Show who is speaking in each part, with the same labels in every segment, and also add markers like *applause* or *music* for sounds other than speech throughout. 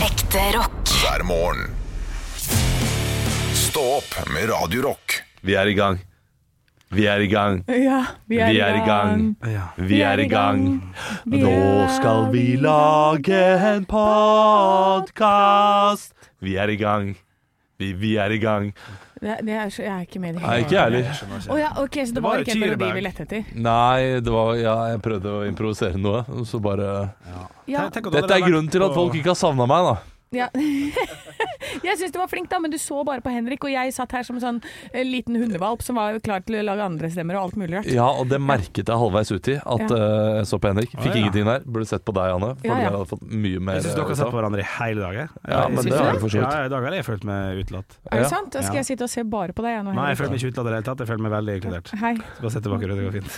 Speaker 1: Ekte rock.
Speaker 2: hver morgen. Stå opp med Radio Rock.
Speaker 3: Vi er i gang. Vi er i gang.
Speaker 4: Ja,
Speaker 3: Vi er i gang. Vi er i gang. Nå skal vi lage en podkast. Vi er i gang. Vi, vi er i gang.
Speaker 4: Det, det er, så- jeg er ikke med i det
Speaker 3: Nei, ikke jeg heller.
Speaker 4: Å ja, ok, Så det, var,
Speaker 5: var
Speaker 4: ikke en
Speaker 5: Tyreberg.
Speaker 4: melodi vi lette etter?
Speaker 3: Nei, det var ja, Jeg prøvde å improvisere noe, og så bare
Speaker 4: Ja,
Speaker 5: Tenk at
Speaker 3: Dette
Speaker 5: dere
Speaker 3: er
Speaker 5: har vært
Speaker 3: grunnen til at
Speaker 5: på-
Speaker 3: folk ikke har savna meg, da.
Speaker 4: ja. *laughs* Jeg syns du var flink, da, men du så bare på Henrik, og jeg satt her som en sånn eh, liten hundevalp som var klar til å lage andre stemmer og alt mulig rart.
Speaker 3: Ja, og det merket jeg halvveis uti. At
Speaker 4: Ja.
Speaker 3: eh, jeg så på Henrik. Fikk
Speaker 5: Å, ja.
Speaker 3: ingenting der. Burde sett på deg, Anne. For
Speaker 4: Ja, ja.
Speaker 3: dere hadde fått mye mer.
Speaker 5: Jeg syns dere har
Speaker 3: eh,
Speaker 5: sett på hverandre i hele dag. jeg.
Speaker 3: Ja, men
Speaker 5: Jeg synes
Speaker 4: det har
Speaker 3: vi for så vidt.
Speaker 5: Ja, I dag har jeg følt meg utelatt.
Speaker 4: Er
Speaker 3: ja.
Speaker 4: det sant? Da skal
Speaker 5: Ja.
Speaker 4: jeg sitte og se bare på deg jeg nå.
Speaker 5: Nei, jeg
Speaker 4: Henrik.
Speaker 5: følte meg ikke utelatt i det hele tatt. Jeg følte meg veldig inkludert.
Speaker 4: Hei. *laughs*
Speaker 5: Så bare sett tilbake, Rudi. Det går fint.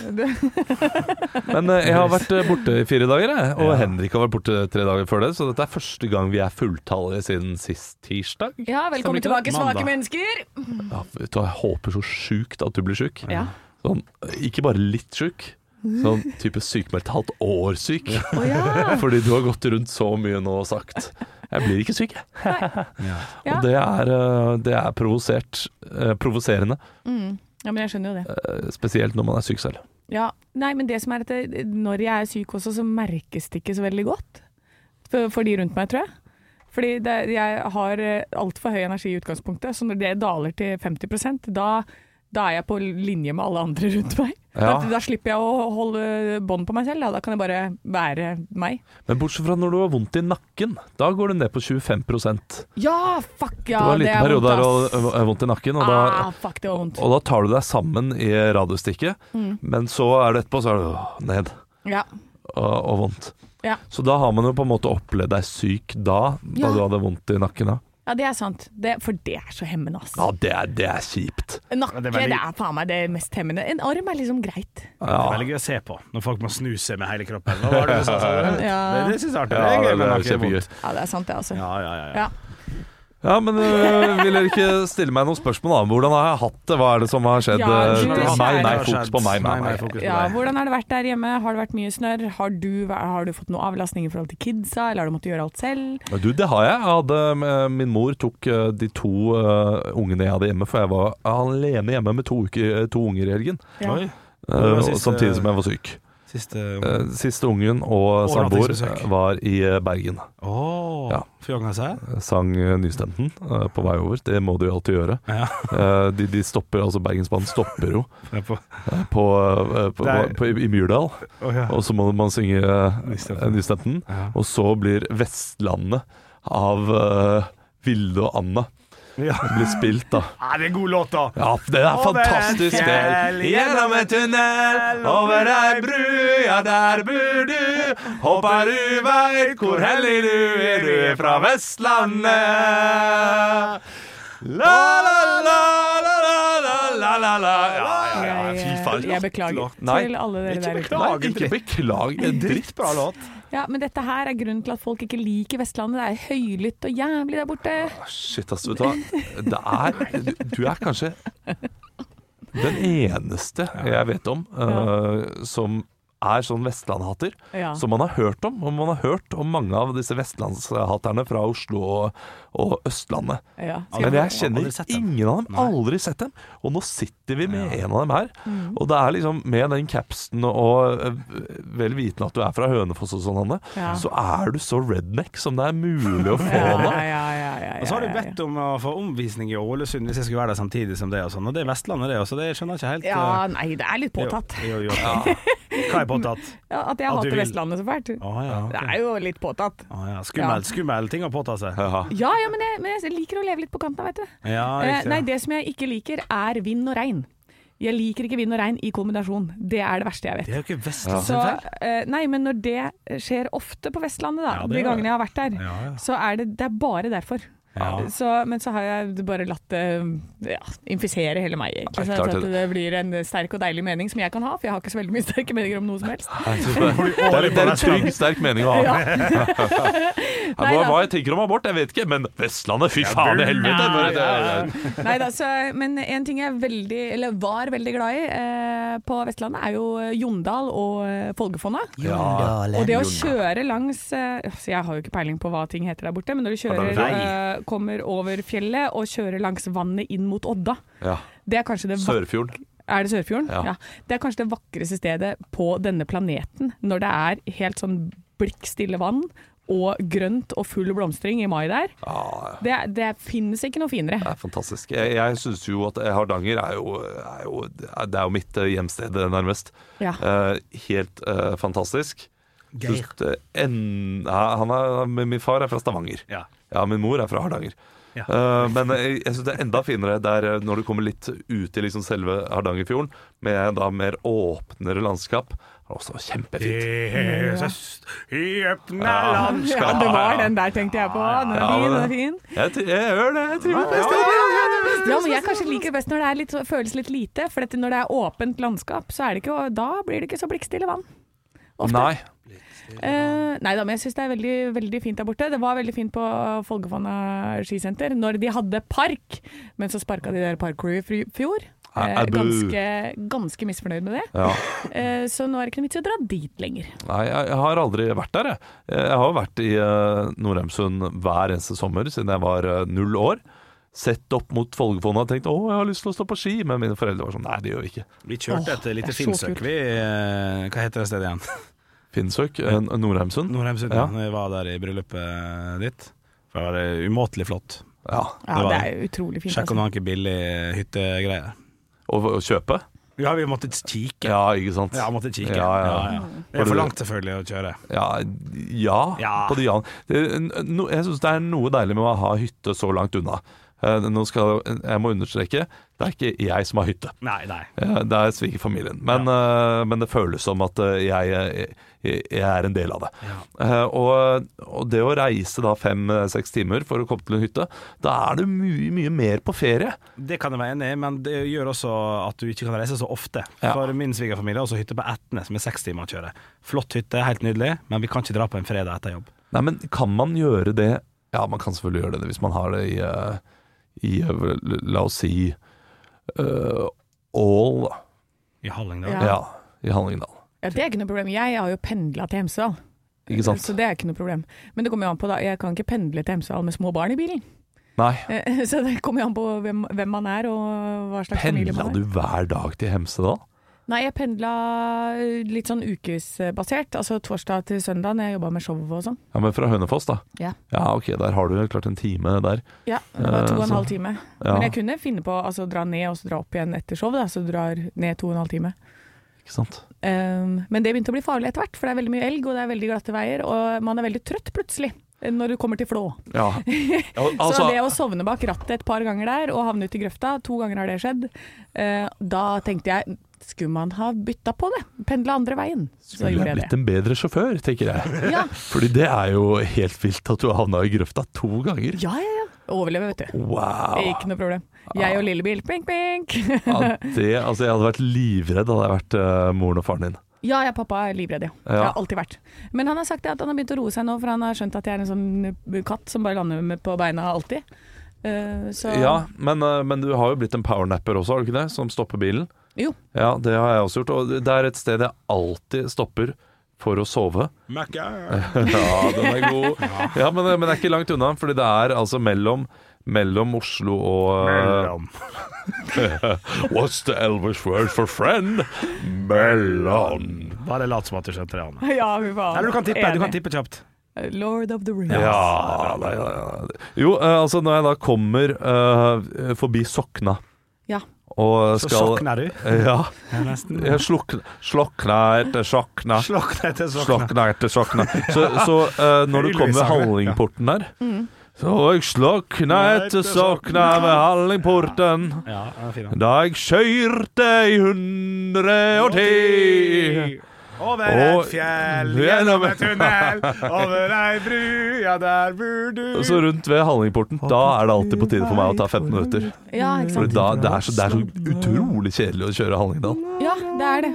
Speaker 3: Men eh, jeg har vært eh, borte i fire dager, jeg. Og
Speaker 5: Ja.
Speaker 3: Henrik har vært borte tre dager før det, så dette er første gang vi er fulltallige siden sist tirsdag.
Speaker 4: Ja, velkommen
Speaker 3: Stemmer
Speaker 4: tilbake,
Speaker 5: ikke det?
Speaker 4: svake
Speaker 5: Mandag.
Speaker 4: mennesker!
Speaker 3: Ja, vet du hva, jeg håper så sjukt at du blir sjuk.
Speaker 4: Ja.
Speaker 3: Sånn, ikke bare litt sjuk. Sånn type sykmeldt halvt år syk.
Speaker 4: Å
Speaker 3: *laughs*
Speaker 4: ja.
Speaker 3: Fordi du har gått rundt så mye nå og sagt 'jeg blir ikke syk', jeg.
Speaker 4: Ja.
Speaker 3: Og det er, eh, det er provosert. eh, Provoserende.
Speaker 4: Mm. ja, men jeg skjønner jo det.
Speaker 3: eh, Spesielt når man er syk selv.
Speaker 4: Ja, nei, men det som er at det, når jeg er syk også, så merkes det ikke så veldig godt for, for de rundt meg, tror jeg. Fordi det, jeg har eh, altfor høy energi i utgangspunktet, så når det daler til 50 da, da er jeg på linje med alle andre rundt meg.
Speaker 3: Ja.
Speaker 4: Da, da slipper jeg å holde bånd på meg selv, da. da kan jeg bare være meg.
Speaker 3: Men bortsett fra når du har vondt i nakken. Da går du ned på 25
Speaker 4: Ja, fuck ja,
Speaker 3: Det var en liten
Speaker 4: er
Speaker 3: periode der
Speaker 4: vondt,
Speaker 3: og og- og vondt i nakken, og da
Speaker 4: Ah, fuck, det var vondt.
Speaker 3: Og da tar du deg sammen i radiostikket,
Speaker 4: Mm.
Speaker 3: men så er det etterpå så er det åh, ned
Speaker 4: Ja.
Speaker 3: og, og vondt.
Speaker 4: Ja.
Speaker 3: Så da har man jo på en måte opplevd deg syk da, da
Speaker 4: Ja.
Speaker 3: du hadde vondt i nakken. Da.
Speaker 4: ja, det er sant. Det, for det er så hemmende, ass.
Speaker 3: Ja, det er, det er kjipt.
Speaker 4: Nakke,
Speaker 5: Det
Speaker 4: det
Speaker 5: er
Speaker 4: er,
Speaker 5: veldig-
Speaker 4: faen meg det mest hemmende. En arm er liksom greit.
Speaker 5: Det
Speaker 3: Ja.
Speaker 5: er veldig gøy å se på når folk må snu seg med hele kroppen. Hva var det du sa? sa du?
Speaker 4: Ja.
Speaker 5: Det, det syns jeg er artig.
Speaker 3: Ja,
Speaker 5: Det er gøy,
Speaker 3: det
Speaker 5: men
Speaker 3: er
Speaker 5: har ikke
Speaker 3: kjempegøy.
Speaker 5: vondt.
Speaker 4: Ja, det er sant det, altså.
Speaker 5: Ja, ja, ja. ja.
Speaker 4: Ja.
Speaker 3: Ja, men øh, vil dere ikke stille meg noen spørsmål da? om Hvordan har jeg hatt det? Hva er det som har skjedd?
Speaker 4: Ja,
Speaker 3: øh,
Speaker 4: du-
Speaker 3: til meg,
Speaker 4: det
Speaker 3: nei,
Speaker 4: har
Speaker 3: fokus på meg,
Speaker 5: Nei,
Speaker 3: meg,
Speaker 5: nei,
Speaker 3: meg.
Speaker 5: fokus på
Speaker 4: Ja,
Speaker 5: deg.
Speaker 4: hvordan har det vært der hjemme? Har det vært mye snørr? Har, du- har du fått noe avlastning i forhold til kidsa, eller har du måttet gjøre alt selv?
Speaker 3: Du, det har jeg. jeg hadde, øh, min mor tok øh, de to øh, ungene jeg hadde hjemme, for jeg var alene hjemme med to, uker, øh, to unger i helgen.
Speaker 4: Ja.
Speaker 5: Oi.
Speaker 3: øh,
Speaker 5: var
Speaker 3: og
Speaker 5: siste-
Speaker 3: samtidig som jeg var syk.
Speaker 5: Siste
Speaker 3: Eh, Siste ungen og samboer
Speaker 5: Overnattingsbesøk.
Speaker 3: var i eh, Bergen.
Speaker 5: Ååå.
Speaker 3: Ja.
Speaker 5: Fjonga seg?
Speaker 3: Sang eh, Nystemten eh, på vei over. Det må du jo alltid gjøre.
Speaker 5: Ja.
Speaker 3: Eh, De, de stopper, altså Bergensbanen stopper jo
Speaker 5: Jeg er på-
Speaker 3: eh, på, eh, på,
Speaker 5: Det er-
Speaker 3: på, i Myrdal,
Speaker 5: Å, ja.
Speaker 3: og så må man synge eh,
Speaker 5: Nystemten.
Speaker 3: eh, Nystemten.
Speaker 5: Ja.
Speaker 3: Og så blir Vestlandet av eh, Vilde og Anna
Speaker 5: Ja.
Speaker 3: blir spilt, da.
Speaker 5: Ja, det er god låt, da!
Speaker 3: Ja, det er
Speaker 5: Over et
Speaker 3: fantastisk
Speaker 5: fjell,
Speaker 3: fjell. Gjennom en tunnel, over ei bru, ja, der bor du. Håper du veit hvor hellig du er, du er fra Vestlandet. La, la, la, la, la, la, la, la, la. Ja, ja, ja, fy
Speaker 4: jeg, jeg
Speaker 3: faen.
Speaker 4: beklager
Speaker 3: Nei.
Speaker 4: til alle dere
Speaker 5: Ikke
Speaker 4: der ute.
Speaker 5: beklager.
Speaker 3: Nei, ikke beklag en dritt.
Speaker 5: Drittbra låt.
Speaker 4: Ja, men dette her er grunnen til at folk ikke liker Vestlandet. Det er høylytt og jævlig der borte.
Speaker 3: Shit, ass, vet du hva. Det er du- Du er kanskje den eneste jeg vet om eh, som er sånn Vestland-hater.
Speaker 4: Ja.
Speaker 3: som man har hørt om. Og man har hørt om mange av disse vestlandshaterne fra Oslo og, og Østlandet.
Speaker 4: Ja. Skal
Speaker 3: Men
Speaker 4: jeg-
Speaker 3: jeg kjenner
Speaker 5: Aldri sett dem.
Speaker 3: ingen av dem. Aldri sett dem. Og nå sitter vi med en av dem her. Og det er liksom med den capsen og øh, vel vitende at du er fra Hønefoss og sånn, Hanne,
Speaker 4: Ja.
Speaker 3: så er du så redneck som det er mulig å få
Speaker 4: ja, ja,
Speaker 3: nå.
Speaker 4: ja, ja, ja, ja,
Speaker 5: Og så har du
Speaker 4: ja, ja.
Speaker 5: bedt om å få omvisning i Ålesund hvis jeg skulle være der samtidig som det. Og, sånn. og det er Vestlandet, det også. Det skjønner jeg ikke helt.
Speaker 4: Ja,
Speaker 5: eh,
Speaker 4: nei, det er litt påtatt.
Speaker 5: Jo, jo, jo. Hva er påtatt?
Speaker 4: Ja, at jeg
Speaker 5: At
Speaker 4: hater
Speaker 5: du vil-
Speaker 4: Vestlandet så fælt.
Speaker 5: Å ja. ok.
Speaker 4: Det er jo litt påtatt.
Speaker 5: Å, ja. Skummel, skummel ting å påta seg.
Speaker 3: Ja.
Speaker 4: Ja, ja, men jeg, men jeg liker å leve litt på kanten, vet du.
Speaker 5: Ja,
Speaker 4: Eh,
Speaker 5: riktig.
Speaker 4: nei, det som jeg ikke liker er vind og regn. Jeg liker ikke vind og regn i kombinasjon. Det er det verste jeg vet.
Speaker 5: Det er jo ikke sånn Vestlandet
Speaker 4: Så,
Speaker 5: sin feil.
Speaker 4: eh, nei, men når det skjer ofte på Vestlandet, da,
Speaker 5: Ja, det
Speaker 4: de
Speaker 5: gjør det.
Speaker 4: gangene jeg har vært der,
Speaker 5: Ja, ja.
Speaker 4: så er det, det er bare derfor.
Speaker 5: Ja.
Speaker 4: Så, men så har jeg bare latt det ja, infisere hele meg, egentlig.
Speaker 3: Det er
Speaker 4: Så jeg
Speaker 3: klart
Speaker 4: tror at
Speaker 3: det-
Speaker 4: det blir en sterk og deilig mening som jeg kan ha, for jeg har ikke så veldig mye sterke meninger om noe som helst.
Speaker 3: *laughs* Det er, det er en trygg, sterk mening å ha. Hva, hva jeg tenker om abort, jeg vet ikke, men Vestlandet, fy faen i helvete!
Speaker 5: Ja,
Speaker 3: Det er-
Speaker 4: Neida, så, men en ting jeg er veldig, eller var veldig glad i eh, på Vestlandet, er jo Jondal og eh, Folgefonna. Og det å kjøre langs eh, altså Jeg har jo ikke peiling på hva ting heter der borte, men når du
Speaker 5: det
Speaker 4: kjører,
Speaker 5: vei?
Speaker 4: eh, kommer over fjellet og kjører langs vannet inn mot Odda,
Speaker 3: Ja.
Speaker 4: det er kanskje det vakreste
Speaker 3: Sørfjorden.
Speaker 4: Er det Sørfjorden?
Speaker 3: Ja.
Speaker 4: Det er kanskje det vakreste stedet på denne planeten, når det er helt sånn blikkstille vann og grønt og full blomstring i mai der.
Speaker 3: Ja,
Speaker 4: Det, det finnes ikke noe finere.
Speaker 3: Det er fantastisk. Jeg, jeg syns jo at Hardanger er jo, er jo Det er jo mitt eh, hjemsted, eh, nærmest.
Speaker 4: Ja.
Speaker 3: Eh, helt eh, fantastisk. Just, eh, en, ja, han er, min far er fra Stavanger.
Speaker 5: Ja.
Speaker 3: Ja, min mor er fra Hardanger.
Speaker 5: Ja.
Speaker 3: Eh, men jeg, jeg syns det er enda finere der eh, når du kommer litt ut i liksom selve Hardangerfjorden, med da mer åpnere landskap. Det er også kjempefint.
Speaker 5: Jesus i åpne
Speaker 3: Ja.
Speaker 5: land
Speaker 4: Ja, det var den der, tenkte jeg på. Den er
Speaker 3: Ja,
Speaker 4: fin,
Speaker 3: men-
Speaker 4: den er fin.
Speaker 3: Jeg, tri- jeg hører det! Jeg trives best.
Speaker 4: Ja, men jeg kanskje liker det best når det er sånn. litt, føles litt lite, for dette, når det er åpent landskap, så er det ikke, da blir det ikke så blikkstille vann. Ofte.
Speaker 3: Nei.
Speaker 4: Eh, nei da, men jeg syns det er veldig, veldig fint der borte. Det var veldig fint på Folgefonna skisenter når de hadde park, men så sparka de der parkour i fri- fjor.
Speaker 3: Nei,
Speaker 4: Eh,
Speaker 3: Ah, abu.
Speaker 4: ganske, ganske misfornøyd med det.
Speaker 3: Ja.
Speaker 4: Eh, så nå er det ikke noe vits i å dra dit lenger.
Speaker 3: Nei, jeg jeg har aldri vært der, jeg. Jeg har jo vært i eh, Nordheimsund hver eneste sommer siden jeg var eh, null år. Sett opp mot Folgefonna og tenkt 'Å, jeg har lyst til å stå på ski', men mine foreldre var sånn 'Nei, det gjør vi ikke'.
Speaker 5: Vi kjørte et
Speaker 4: Åh, det
Speaker 5: lite
Speaker 4: er så
Speaker 5: filmsøk,
Speaker 4: kult.
Speaker 5: vi. eh, Hva heter det stedet igjen? *laughs*
Speaker 3: Finnsøk, eh, Nordheimsund.
Speaker 5: Nordheimsund.
Speaker 3: Ja.
Speaker 5: Ja. Når vi var der i bryllupet eh, ditt. For Det var eh, umåtelig flott.
Speaker 3: Ja.
Speaker 4: Ja,
Speaker 5: Det
Speaker 4: det
Speaker 5: var
Speaker 4: er utrolig fint.
Speaker 5: Sjekk
Speaker 4: altså.
Speaker 5: om det var ikke billig hyttegreier.
Speaker 3: Og, og kjøpe?
Speaker 5: Ja, vi måtte kikke.
Speaker 3: Ja, ikke sant?
Speaker 5: Ja, måtte kikke.
Speaker 3: Ja, ja.
Speaker 5: Det er for langt selvfølgelig å kjøre.
Speaker 3: Ja, ja,
Speaker 5: Ja.
Speaker 3: på de an. Det, n- no, jeg syns det er noe deilig med å ha hytte så langt unna. Eh, Nå skal jeg må understreke, det er ikke jeg som har hytte.
Speaker 5: Nei, nei.
Speaker 3: Ja, Det er svigerfamilien. Men, eh, men det føles som at eh, jeg, jeg, jeg er en del av det. Eh, og, og det å reise da fem-seks timer for å komme til en hytte, da er du mye, mye mer på ferie.
Speaker 5: Det kan jeg være enig i, men det gjør også at du ikke kan reise så ofte.
Speaker 3: Ja.
Speaker 5: For min svigerfamilie har også hytte på Etne, som er seks timer å kjøre. Flott hytte, helt nydelig, men vi kan ikke dra på en fredag etter jobb.
Speaker 3: Nei, men kan man gjøre det Ja, man kan selvfølgelig gjøre det hvis man har det i, eh, i eh, la oss si eh, Ål, da.
Speaker 5: I Hallingdal.
Speaker 4: Ja.
Speaker 3: ja. I Hallingdal.
Speaker 4: Ja, det er ikke noe problem. Jeg har jo pendla til Hemsedal,
Speaker 3: Ikke sant?
Speaker 4: så det er ikke noe problem. Men det kommer jo an på, da. Jeg kan ikke pendle til Hemsedal med små barn i bilen.
Speaker 3: Nei.
Speaker 4: Eh, *laughs* Så det kommer jo an på hvem, hvem man er og hva slags familie
Speaker 3: Pendla
Speaker 4: man er.
Speaker 3: du hver dag til Hemsedal?
Speaker 4: Nei, jeg pendla litt sånn ukesbasert. Altså torsdag til søndag når jeg jobba med show og sånn.
Speaker 3: Ja, men fra Hønefoss, da?
Speaker 4: Ja.
Speaker 3: Ja, ok, der har du klart en time der.
Speaker 4: Ja, det var to og
Speaker 3: Eh,
Speaker 4: en
Speaker 3: så-
Speaker 4: halv time.
Speaker 3: Ja.
Speaker 4: Men jeg kunne finne på å altså, dra ned og så dra opp igjen etter show, da, så du drar ned to og en halv time.
Speaker 3: Ikke sant?
Speaker 4: Ehm, men det begynte å bli farlig etter hvert, for det er veldig mye elg og det er veldig glatte veier, og man er veldig trøtt plutselig eh, når du kommer til Flå.
Speaker 3: Ja.
Speaker 4: *laughs*
Speaker 3: altså,
Speaker 5: Altså-
Speaker 4: så det å sovne bak rattet et par ganger der og havne ute i grøfta, to ganger har det skjedd, eh, da tenkte jeg skulle man ha bytta på det? Pendla andre veien. Så
Speaker 3: Ville
Speaker 4: gjorde jeg
Speaker 3: blitt
Speaker 4: det.
Speaker 3: en bedre sjåfør, tenker jeg.
Speaker 4: Ja,
Speaker 3: Fordi det er jo helt vilt at du havna i grøfta to ganger.
Speaker 4: ja, ja. ja. Overleve, vet du.
Speaker 3: Wow!
Speaker 4: Ikke noe problem. Jeg og Lillebil, pink, pink.
Speaker 3: Ja, det, altså, jeg hadde vært livredd hadde jeg vært eh, moren og faren din.
Speaker 4: Ja, jeg og pappa er livredd, ja.
Speaker 3: Ja.
Speaker 4: Jeg har alltid vært. Men han har sagt det at han har begynt å roe seg nå, for han har skjønt at jeg er en sånn katt som bare lander med på beina alltid. Eh, så
Speaker 3: Ja, men, eh, men du har jo blitt en powernapper også, har du ikke det? Som stopper bilen.
Speaker 4: Jo.
Speaker 3: Ja, det har jeg også gjort. Og det er et sted jeg alltid stopper for å sove.
Speaker 5: Møkka!
Speaker 3: Ja, den er god. Ja, men, men det er ikke langt unna, fordi det er altså mellom mellom Oslo og
Speaker 5: Mellom.
Speaker 3: What's the Elvis word for friend? Mellom.
Speaker 5: Bare lat som at du skjønte det, Anne.
Speaker 4: *laughs* ja, fy faen.
Speaker 5: Eller du kan tippe,
Speaker 4: Enig.
Speaker 5: du kan tippe kjapt.
Speaker 4: Lord of the Rings.
Speaker 3: Ja, nei, nei, nei. Jo, eh, altså når jeg da kommer eh, forbi Sokna
Speaker 4: Ja.
Speaker 3: og
Speaker 5: Så
Speaker 3: skal
Speaker 5: sokner du.
Speaker 3: *laughs* Ja.
Speaker 5: Ja, nesten.
Speaker 3: Jeg slukna Slokna etter Sokna.
Speaker 5: Slokner til sokner.
Speaker 3: Slokna etter Sokna. Så, så eh, når du kommer ved Hallingporten der Så jeg slokna etter Sokna ved Hallingporten.
Speaker 5: Ja, den er fin.
Speaker 3: Da jeg kjørte i hundre og ti.
Speaker 5: Å, Over
Speaker 3: Og-
Speaker 5: et fjell,
Speaker 3: Ja, nei,
Speaker 5: gjennom
Speaker 3: men-
Speaker 5: en tunnel, over ei bru, ja, der bor du
Speaker 3: Og Så rundt ved Hallingporten, da er det alltid på tide for meg å ta 15 minutter.
Speaker 4: Ja, ikke
Speaker 3: For
Speaker 4: sant.
Speaker 3: da, det, er så, det er så utrolig kjedelig å kjøre Hallingdal.
Speaker 4: Ja, det er det.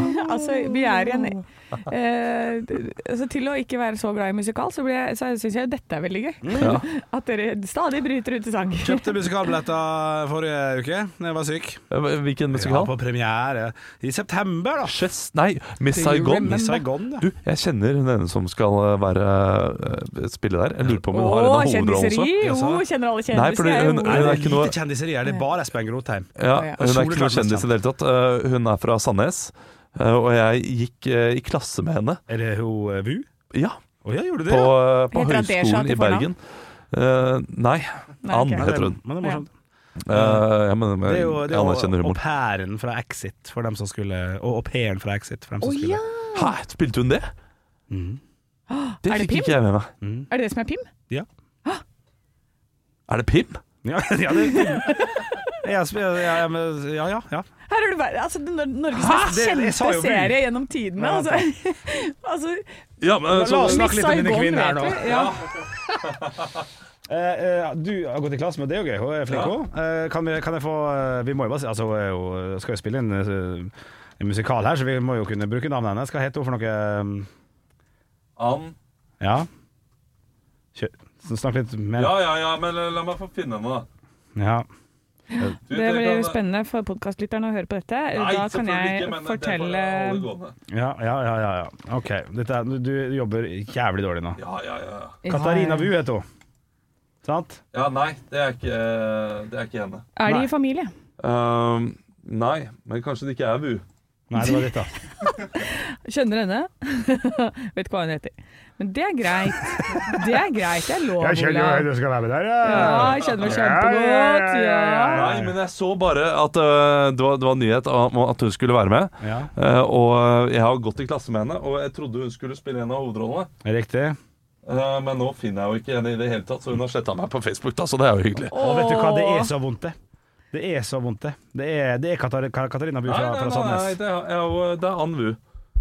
Speaker 4: *laughs* altså, vi er i en eh, d- altså, Til å ikke være så glad i musikal, så, blir jeg- så syns jeg jo dette er veldig gøy.
Speaker 3: Ja.
Speaker 4: At dere stadig bryter ut i sang. *laughs*
Speaker 5: Kjøpte musikalbilletter forrige uke da jeg var syk.
Speaker 3: Hvilken
Speaker 5: Ja,
Speaker 3: musikal?
Speaker 5: på premiere i september, da.
Speaker 3: Chess? Nei, Miss Saigon.
Speaker 5: I Saigon, ja.
Speaker 3: Du, jeg kjenner hun ene som skal eh, være eh, spille der. Jeg lurer på om hun har en av hovedrollene også.
Speaker 4: kjendiseri!
Speaker 5: også?
Speaker 4: Jo, kjenner alle
Speaker 3: Nei, fordi
Speaker 4: kjendiser.
Speaker 3: hun-
Speaker 5: Nei,
Speaker 3: hun
Speaker 5: det
Speaker 3: er
Speaker 5: er
Speaker 3: ikke noe-
Speaker 5: lite kjendiseri her, det er bare Espen Grotheim.
Speaker 3: Ja,
Speaker 4: ja.
Speaker 3: hun er ikke noe
Speaker 5: Soleklart
Speaker 3: kjendis i det hele tatt. Eh, Hun er fra Sandnes, eh, og jeg gikk eh, i klasse med henne.
Speaker 5: Er det hun eh, Vu?
Speaker 3: Ja,
Speaker 5: Å ja, gjorde du
Speaker 3: på,
Speaker 5: det?
Speaker 3: eh, på
Speaker 4: Heter hun Adesha
Speaker 3: Høgskolen
Speaker 4: til
Speaker 3: i Bergen. Eh, nei,
Speaker 4: Nei,
Speaker 3: Ann
Speaker 4: ok.
Speaker 5: Nei, det er-
Speaker 3: heter hun.
Speaker 5: Men det er morsomt.
Speaker 3: Eh, ja, men,
Speaker 5: Det er jo, det
Speaker 3: jeg
Speaker 5: er
Speaker 3: anerkjenner
Speaker 5: jo au
Speaker 3: humoren.
Speaker 5: pairen fra Exit for dem som skulle Og au pairen fra Exit for dem som
Speaker 4: Å
Speaker 5: skulle
Speaker 4: ja!
Speaker 3: Hæ, spilte hun det?
Speaker 5: Mhm.
Speaker 3: Det
Speaker 4: Mm. Er det
Speaker 3: fikk
Speaker 4: Pim?
Speaker 3: ikke jeg med meg.
Speaker 5: Mhm.
Speaker 4: Er det det som er Pim?
Speaker 3: Er det Pim?
Speaker 5: Ja, *laughs* ja, det, ja, sp- ja, men- ja, ja, ja.
Speaker 4: Her er du bare, altså, det er Nor- Norges
Speaker 5: Hæ?
Speaker 4: mest
Speaker 5: Det- jeg sa
Speaker 4: kjente
Speaker 5: jo Vy.
Speaker 4: serie gjennom tidene.
Speaker 5: Ja,
Speaker 4: Altså, *laughs* altså
Speaker 3: Ja, men,
Speaker 5: La
Speaker 3: så,
Speaker 5: oss snakke Eh, litt om dine
Speaker 4: Miss Saigon
Speaker 5: kvinner her
Speaker 4: vet
Speaker 5: nå.
Speaker 4: du, Ja.
Speaker 5: *laughs* Eh, eh, du har gått i klasse med det er jo gøy. Hun er flink, hun. Eh, kan, vi- kan jeg få eh, Vi må jo bare si Altså, hun er jo, skal jo spille inn eh, en musikal her, så vi må jo kunne bruke navnet hennes. Hva heter hun for noe eh,
Speaker 3: Ann.
Speaker 5: Ja? Kjør. Så Snakk litt mer.
Speaker 3: ja, ja, men eh, la meg få finne henne, da.
Speaker 5: Ja.
Speaker 4: Det blir spennende for podkastlytterne å høre på dette. da kan jeg
Speaker 3: eh,
Speaker 4: fortelle
Speaker 5: Ja, ja, ja, ja, ja. OK. Dette, er- du, du jobber jævlig dårlig nå.
Speaker 3: Ja, ja, ja.
Speaker 4: eh,
Speaker 5: Katarina Wu heter hun. Sant?
Speaker 3: Ja, nei, det er ikke, eh, det er ikke henne.
Speaker 4: Er de
Speaker 5: Nei.
Speaker 4: i familie?
Speaker 3: Ehm, nei, men kanskje det ikke er Vu.
Speaker 5: Nei, det var ditt, da.
Speaker 4: Skjønner henne. *laughs* Vet ikke hva hun heter. Men det er greit. Det er greit. Det er lov, Olav.
Speaker 5: du skal være med der,
Speaker 4: Ja, jeg kjenner meg kjempegodt. Ja.
Speaker 3: Nei, men jeg så bare at øh, det, var, det var nyhet om at hun skulle være med.
Speaker 5: Ja,
Speaker 3: Eh, og jeg har gått i klasse med henne, og jeg trodde hun skulle spille en av hovedrollene.
Speaker 5: riktig.
Speaker 3: Eh, men nå finner jeg jo ikke henne i det hele tatt, så hun har sletta meg på Facebook, da, så det er jo hyggelig.
Speaker 5: Og vet du hva, det er så vondt, det. Det er så vondt, det. Det er, det er Katar Ka- Katarina Bu
Speaker 3: Nei,
Speaker 5: fra,
Speaker 3: nei,
Speaker 5: fra
Speaker 3: nei, nei,
Speaker 5: Sandnes.
Speaker 3: det er, jeg er jo- det er Ann Vu.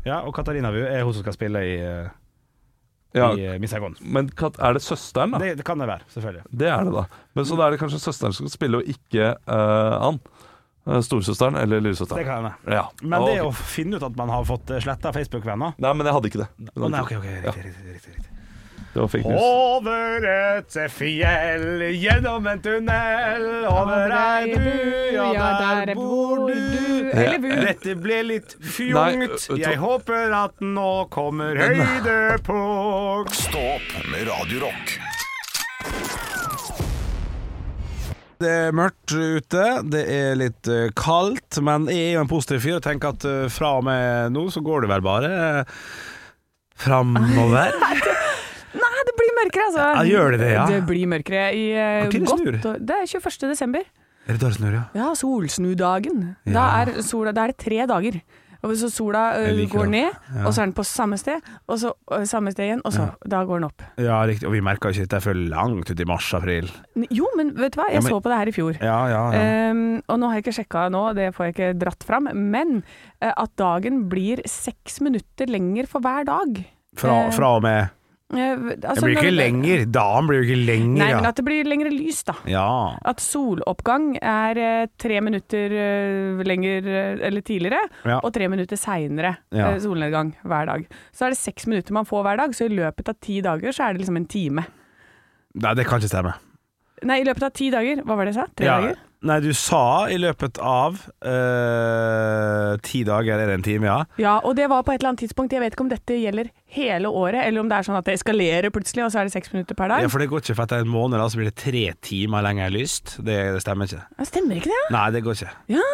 Speaker 5: Ja, og Katarina Bu er hun som skal spille i, eh,
Speaker 3: Ja,
Speaker 5: i eh, Miss Saigon.
Speaker 3: men Kat- er det søsteren, da?
Speaker 5: Det, det kan det være, selvfølgelig.
Speaker 3: Det er det, da. Men Så da er det kanskje søsteren som skal spille, og ikke eh, Ann. Eh, Storesøsteren eller
Speaker 5: Det
Speaker 3: lillesøsteren.
Speaker 5: kan hende.
Speaker 3: Ja.
Speaker 5: Men det
Speaker 3: Ok.
Speaker 5: å finne ut at man har fått sletta Facebook-venner
Speaker 3: Nei, men jeg hadde ikke det.
Speaker 5: Å nei, ok, ok, riktig, riktig, riktig, riktig.
Speaker 3: Det var fake news.
Speaker 5: Over et fjell, gjennom en tunnel, over ei bu, ja der bor du.
Speaker 4: Eller bu.
Speaker 5: Dette ble litt
Speaker 3: Nei,
Speaker 5: fjongt,
Speaker 3: to-
Speaker 5: jeg håper at nå kommer høydepunkt.
Speaker 2: Stå opp med Radio Rock.
Speaker 5: Det er mørkt ute, det er litt eh, kaldt, men jeg er jo en positiv fyr og tenker at eh, fra og med nå så går det vel bare eh, framover.
Speaker 4: Nei, det blir mørkere, altså.
Speaker 5: Ja, gjør det det, ja?
Speaker 4: Det blir mørkere i eh,
Speaker 5: Når snur det?
Speaker 4: godt og- Det er 21. desember.
Speaker 5: Er det dårlig snør, ja?
Speaker 4: Ja, solsnudagen. Da, er sola, da er det tre dager. Og Så sola ø,
Speaker 5: Jeg liker
Speaker 4: går
Speaker 5: det.
Speaker 4: ned, og så er den på samme sted, og så ø, samme sted igjen, og så da går den opp.
Speaker 5: Ja, riktig. Og vi merker ikke dette før langt ut i mars-april.
Speaker 4: N- Jo, men vet du hva, jeg
Speaker 5: Ja, men-
Speaker 4: så på det her i fjor.
Speaker 5: Ja, ja, Ah, ja.
Speaker 4: Ehm, og nå har jeg ikke sjekka nå, det får jeg ikke dratt fram, men eh, at dagen blir seks minutter lenger for hver dag.
Speaker 5: Fra, fra og med
Speaker 4: Eh, altså,
Speaker 5: Det blir
Speaker 4: når
Speaker 5: ikke
Speaker 4: det-
Speaker 5: lenger. Dagen blir jo ikke lenger,
Speaker 4: Nei, men
Speaker 5: ja.
Speaker 4: at det blir lengre lys, da.
Speaker 5: ja.
Speaker 4: At soloppgang er eh, tre minutter eh, lenger eh, eller tidligere,
Speaker 5: Ja.
Speaker 4: og tre minutter seinere
Speaker 5: Ja.
Speaker 4: eh, solnedgang hver dag. Så er det seks minutter man får hver dag, så i løpet av ti dager så er det liksom en time.
Speaker 5: Nei, det kan ikke stemme.
Speaker 4: Nei, i løpet av ti dager, hva var det jeg sa? Tre
Speaker 5: Ja.
Speaker 4: dager?
Speaker 5: Nei, du sa i løpet av eh, ti dager er det en time, ja.
Speaker 4: Ja, og det var på et eller annet tidspunkt. Jeg vet ikke om dette gjelder hele året, eller om det er sånn at det eskalerer plutselig, og så er det seks minutter per dag.
Speaker 5: Ja, for det går ikke, for etter en måned da, så blir det tre timer lenger lyst. Det, det stemmer ikke.
Speaker 4: Ja, stemmer ikke det? ja?
Speaker 5: Nei, det går ikke.
Speaker 4: Ja.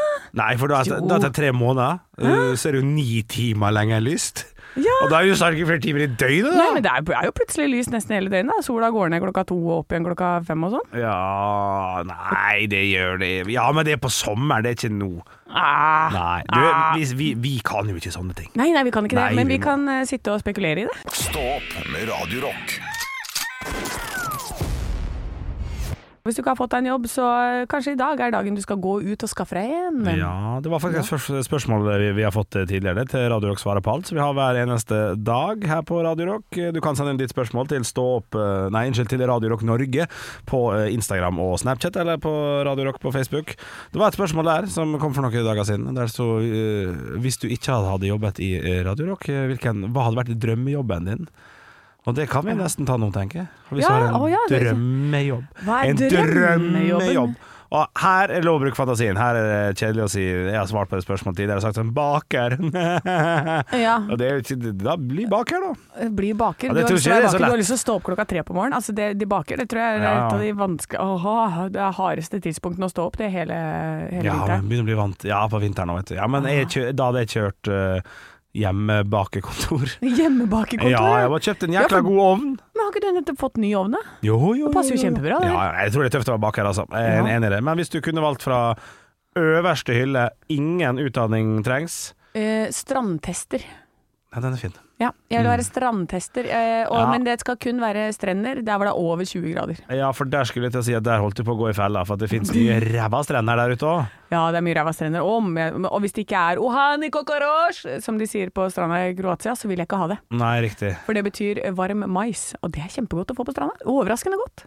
Speaker 5: Nei, for da,
Speaker 4: Jo.
Speaker 5: da etter tre måneder, uh, så er det jo ni timer lenger lyst.
Speaker 4: Ja.
Speaker 5: Og da er det jo snart ikke flere timer i døgnet, da.
Speaker 4: Nei, men det er, er jo plutselig lys nesten hele døgnet. da. Sola går ned klokka to og opp igjen klokka fem og sånn.
Speaker 5: Ja, nei, det gjør det. Ja, men det er på sommeren, det er ikke nå.
Speaker 4: Ah.
Speaker 5: Nei, du, vi, vi, vi kan jo ikke sånne ting.
Speaker 4: Nei, nei, vi kan ikke det.
Speaker 5: Nei,
Speaker 4: men
Speaker 5: vi
Speaker 4: vi
Speaker 5: må-
Speaker 4: kan eh, sitte og spekulere i det.
Speaker 2: Stå opp med Radio Rock.
Speaker 4: Hvis du ikke har fått deg en jobb, så eh, kanskje i dag er dagen du skal gå ut og skaffe deg en.
Speaker 5: Ja, det var faktisk et spørs- spørsmål vi, vi har fått eh, tidligere til Radio Rock svarer på alt, så vi har hver eneste dag her på Radio Rock. Du kan sende inn ditt spørsmål til stå opp eh, Nei, unnskyld, til Radio Rock Norge på eh, Instagram og Snapchat, eller på Radio Rock på Facebook. Det var et spørsmål der som kom for noen dager siden. Der sto eh, Hvis du ikke hadde jobbet i eh, Radio Rock, eh, hvilken, hva hadde vært drømmejobben din? Og det kan vi nesten ta nå, tenker jeg. Hvis
Speaker 4: Ja,
Speaker 5: du har en
Speaker 4: å ja, det-
Speaker 5: drømmejobb.
Speaker 4: Hva er
Speaker 5: En
Speaker 4: drømmejobben?
Speaker 5: drømmejobb. Og her er lov å bruke fantasien. Her er det kjedelig å si Jeg har svart på det spørsmålet tidligere. Jeg har sagt sånn baker. *laughs*
Speaker 4: Ja,
Speaker 5: Og det er jo ikke Da bli baker, da.
Speaker 4: bli eh, baker.
Speaker 5: Ja,
Speaker 4: du, har
Speaker 5: det tror
Speaker 4: lyst til å
Speaker 5: ikke det er
Speaker 4: være
Speaker 5: så
Speaker 4: baker. du har
Speaker 5: lett.
Speaker 4: lyst til å stå opp klokka tre på morgenen. Altså, det, de baker, det tror jeg er
Speaker 5: Ja.
Speaker 4: et av de vanskelige Åh, det er hardeste tidspunktene å stå opp, det er hele, hele
Speaker 5: Ja, men
Speaker 4: vinteren.
Speaker 5: begynner å bli vant Ja, på vinteren nå, vet du. Ja, men jeg, kjø- da hadde jeg kjørt eh, hjemmebakekontor.
Speaker 4: Hjemmebakekontor?
Speaker 5: Ja, jeg har kjøpt en
Speaker 4: Ja, for-
Speaker 5: jækla god ovn.
Speaker 4: Men har ikke du nettopp fått ny ovn, da?
Speaker 5: Jo, jo,
Speaker 4: Det passer jo kjempebra, det.
Speaker 5: Ja, ja, jeg tror det er tøft å være baker, altså. Jeg er
Speaker 4: Ja.
Speaker 5: enig i det. Men hvis du kunne valgt fra øverste hylle, ingen utdanning trengs
Speaker 4: Eh, strandtester.
Speaker 5: Nei, den er fin.
Speaker 4: Ja, jeg vil være strandtester, eh, og,
Speaker 5: Mm. Ja.
Speaker 4: men det skal kun være strender der hvor det er over 20 grader.
Speaker 5: Ja, for der skulle jeg til å si at der holdt du på å gå i fella, for at det finnes mye *laughs* ræva strender der ute òg.
Speaker 4: Ja, det er mye ræva strender, og, om jeg- og hvis det ikke er ohani kokorosj, som de sier på stranda i Kroatia, så vil jeg ikke ha det.
Speaker 5: Nei, riktig.
Speaker 4: For det betyr varm mais, og det er kjempegodt å få på stranda. Overraskende godt.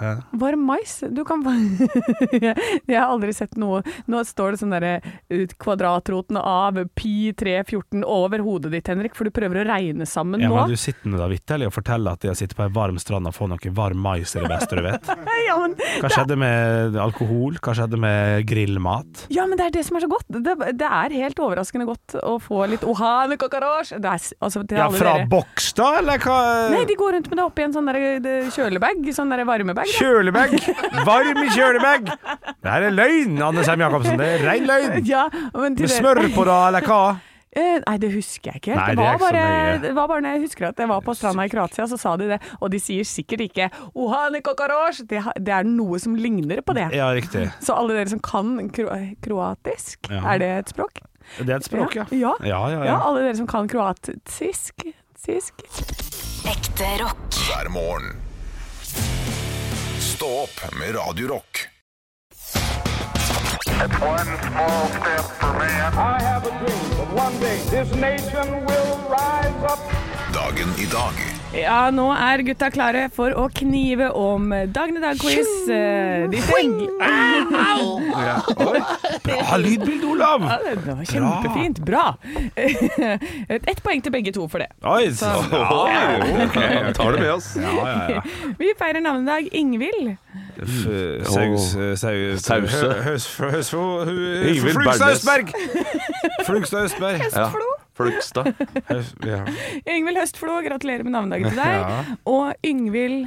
Speaker 5: Hæ?
Speaker 4: Varm mais. Du kan *laughs* Jeg har aldri sett noe Nå står det sånn derre eh, kvadratroten av pi 314 over hodet ditt, Henrik, for du prøver å regne sammen
Speaker 5: Ja,
Speaker 4: nå.
Speaker 5: men du sitter nå da vitterlig og forteller at de har sittet på ei varm strand og fått noe varm mais i det beste du
Speaker 4: *laughs*
Speaker 5: vet.
Speaker 4: Ja, men
Speaker 5: Hva skjedde med alkohol? Hva skjedde med grillmat?
Speaker 4: Ja, men det er det som er så godt. Det, det er helt overraskende godt å få litt ohane kokorosj. Det er s- altså til
Speaker 5: Ja,
Speaker 4: alle
Speaker 5: fra
Speaker 4: dere.
Speaker 5: boks, da, eller hva?
Speaker 4: Nei, de går rundt med det oppi en sånn der, eh, kjølebag, sånn der varmebag. da.
Speaker 5: Kjølebag! Varm i kjølebag! Det her er løgn, Anne Sem Jacobsen. Det er rein løgn.
Speaker 4: Ja, men til
Speaker 5: Med
Speaker 4: dere-
Speaker 5: smør på, da, eller hva?
Speaker 4: Eh, Nei, det husker jeg ikke helt.
Speaker 5: Nei,
Speaker 4: det,
Speaker 5: det
Speaker 4: var
Speaker 5: er ikke så
Speaker 4: bare,
Speaker 5: nøye.
Speaker 4: det var bare når jeg husker at jeg var på stranda i Kroatia, så sa de det. Og de sier sikkert ikke 'ohane kokorosj'. Det, har- det er noe som ligner på det.
Speaker 5: Ja, riktig.
Speaker 4: Så alle dere som kan kro kroatisk,
Speaker 5: Ja.
Speaker 4: er det et språk?
Speaker 5: Det er et språk, ja.
Speaker 4: Ja.
Speaker 5: Ja, ja, ja.
Speaker 4: Ja, alle dere som kan kroatisk. Tisk.
Speaker 1: Ekte rock.
Speaker 2: hver morgen. Stå opp med Radio Rock.
Speaker 6: One small step for man. I have a dream that one day this nation will rise up.
Speaker 2: Dagen i dag
Speaker 4: Ja, nå er gutta klare for å knive om dagen i dag-quiz. Eh, De trenger
Speaker 5: Bra lydbilde, Olav!
Speaker 4: Ja, det var Kjempefint. Bra. *laughs* Ett poeng til begge to for det.
Speaker 5: Oi, så, ja,
Speaker 3: Vi tar det med oss.
Speaker 5: ja, ja, ja.
Speaker 4: Vi feirer navnedag Ingvild.
Speaker 5: F-
Speaker 3: Åh.
Speaker 5: Saus eh, sau-
Speaker 3: Sause.
Speaker 5: hø- høs- hø- høs- hø- hø-
Speaker 3: Ingvild
Speaker 5: Flugstad
Speaker 3: Bernes.
Speaker 5: Østberg! Flugstad Østberg. Eh,
Speaker 3: Ja. Flugstad.
Speaker 5: Høs- ja.
Speaker 4: Ingvild Høstflo, gratulerer med navnedagen til *laughs* deg.
Speaker 5: Ja.
Speaker 4: Og Yngvild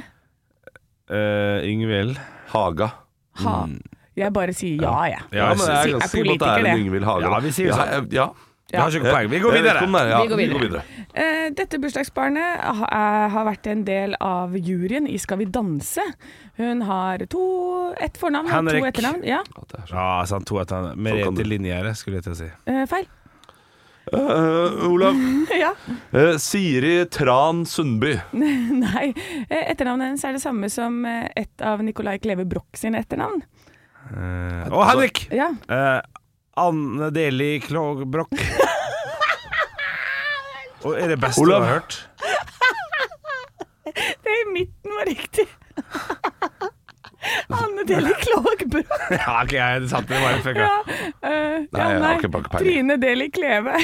Speaker 5: Eh, Ingvild
Speaker 3: Haga.
Speaker 4: Ha. Jeg bare sier Mm. ja, jeg.
Speaker 5: Ja, men jeg
Speaker 4: er ganske sikker på at det er en politiker, det.
Speaker 3: Yngvild Haga.
Speaker 5: Ja, vi sier
Speaker 3: ja,
Speaker 5: sånn.
Speaker 3: jeg- ja.
Speaker 5: Vi har ikke noe poeng. Vi går
Speaker 3: Jeg vet ikke om
Speaker 5: videre.
Speaker 3: det er- ja,
Speaker 4: Vi går
Speaker 3: Eh, vi
Speaker 4: videre.
Speaker 3: går videre.
Speaker 4: Eh, Dette bursdagsbarnet ha- eh, har vært en del av juryen i Skal vi danse. Hun har to, ett fornavn og to
Speaker 5: Henrik.
Speaker 4: etternavn. Ja,
Speaker 5: Ja, sant, to etter
Speaker 3: kan
Speaker 5: Merete
Speaker 3: du.
Speaker 5: Linjere, skulle jeg til å si.
Speaker 4: eh, feil. *laughs*
Speaker 3: Eh, Olav.
Speaker 4: ja.
Speaker 3: Eh, Siri Tran Sundby.
Speaker 4: Nei. eh, Etternavnet hennes er det samme som eh, et av Nicolai Kleve Broch sine etternavn.
Speaker 5: Eh, Og Henrik!
Speaker 4: Ja.
Speaker 5: Eh, Anne Deli Klogbrok. Og er det beste du
Speaker 3: Olav.
Speaker 5: har hørt? *laughs*
Speaker 4: Det i midten var riktig. *laughs* Anne Deli Klåg Broch.
Speaker 5: Ja, ok, jeg- det satt det var en fucka. *laughs*
Speaker 4: Ja. eh,
Speaker 3: Nei, jeg har ikke bank peiling.
Speaker 4: Trine Deli Kleve.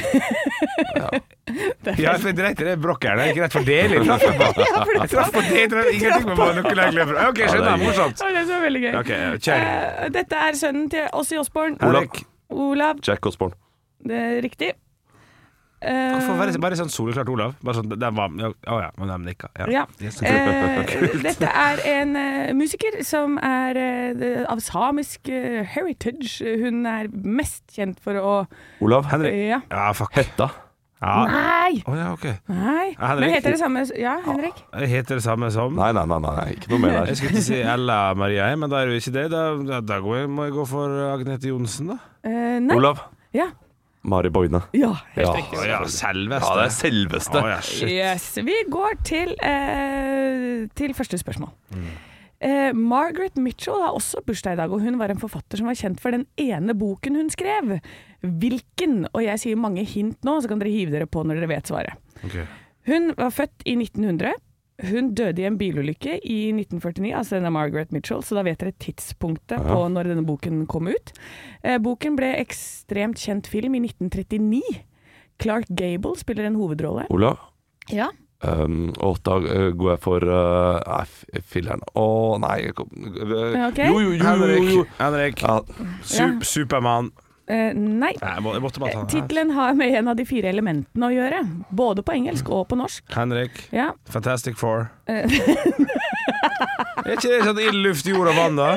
Speaker 5: Ja, for det er rett, det er brokkerne. Ikke rett for Deli. Traff jeg på.
Speaker 4: Ja, for det
Speaker 5: *laughs* Traff på det, traff ingenting med hva noen legger fra. Ok, skjønner. Morsomt.
Speaker 4: var det som var veldig gøy.
Speaker 5: Ok, kjør.
Speaker 4: Eh, Dette er sønnen til Åssi Osborn.
Speaker 3: Olav.
Speaker 5: Henrik.
Speaker 4: Olav.
Speaker 3: Jack Osborne.
Speaker 4: Det er riktig. Eh,
Speaker 5: Hvorfor var det bare sånn soleklart Olav? Bare sånn, den var, ja, å ja, men de nikka.
Speaker 4: Ja.
Speaker 5: Ja. Yes.
Speaker 4: Eh, dette er en eh, musiker som er eh, av samisk eh, heritage. Hun er mest kjent for å
Speaker 3: Olav. Henrik.
Speaker 4: Ja.
Speaker 5: ja, fuck.
Speaker 3: Hetta.
Speaker 5: Ja.
Speaker 4: Nei!
Speaker 5: Å Ah. ja, ok.
Speaker 4: Nei.
Speaker 5: Henrik.
Speaker 4: Men heter det samme Ja, Henrik?
Speaker 5: Jeg heter det samme som
Speaker 3: Nei, nei, nei, nei, nei, ikke noe mer
Speaker 5: Jeg
Speaker 3: der.
Speaker 5: skulle ikke si Ella Maria, jeg, men da er det jo ikke det. Da, da, da går jeg, må jeg gå for Agnete Johnsen, da.
Speaker 4: Eh, nei.
Speaker 3: Olav.
Speaker 4: Ja.
Speaker 3: Mari Boine.
Speaker 4: ja.
Speaker 3: Ja.
Speaker 5: Å ja, selveste.
Speaker 3: ja, det er selveste.
Speaker 5: Å ja, shit.
Speaker 4: Yes. Vi går til, eh, til første spørsmål. Eh, Margaret Mitchell har også bursdag i dag, og hun var en forfatter som var kjent for den ene boken hun skrev. Hvilken? Og jeg sier mange hint nå, så kan dere hive dere på når dere vet svaret.
Speaker 5: Ok.
Speaker 4: Hun var født i 1900. Hun døde i en bilulykke i 1949, altså denne Margaret Mitchell, så da vet dere tidspunktet på når denne boken kom ut. Eh, boken ble ekstremt kjent film i 1939. Clark Gable spiller en hovedrolle.
Speaker 3: Ola?
Speaker 4: Ja.
Speaker 3: Um, og da eh, går jeg for eh, Nei, f- filleren. Å nei jeg kom, eh,
Speaker 4: Ok.
Speaker 3: Jo, jo, jo, jo, jo.
Speaker 5: Henrik, Henrik.
Speaker 3: Ja,
Speaker 5: Sup- Supermann.
Speaker 4: Eh, nei.
Speaker 5: Nei, jeg, må, jeg måtte bare
Speaker 4: Eh,
Speaker 5: ta den.
Speaker 4: Tittelen har med en av de fire elementene å gjøre, både på engelsk og på norsk.
Speaker 5: Henrik.
Speaker 4: Ja.
Speaker 5: Fantastic Four.
Speaker 4: Eh.
Speaker 5: er ikke det sånn ild, luft, jord og vann, da?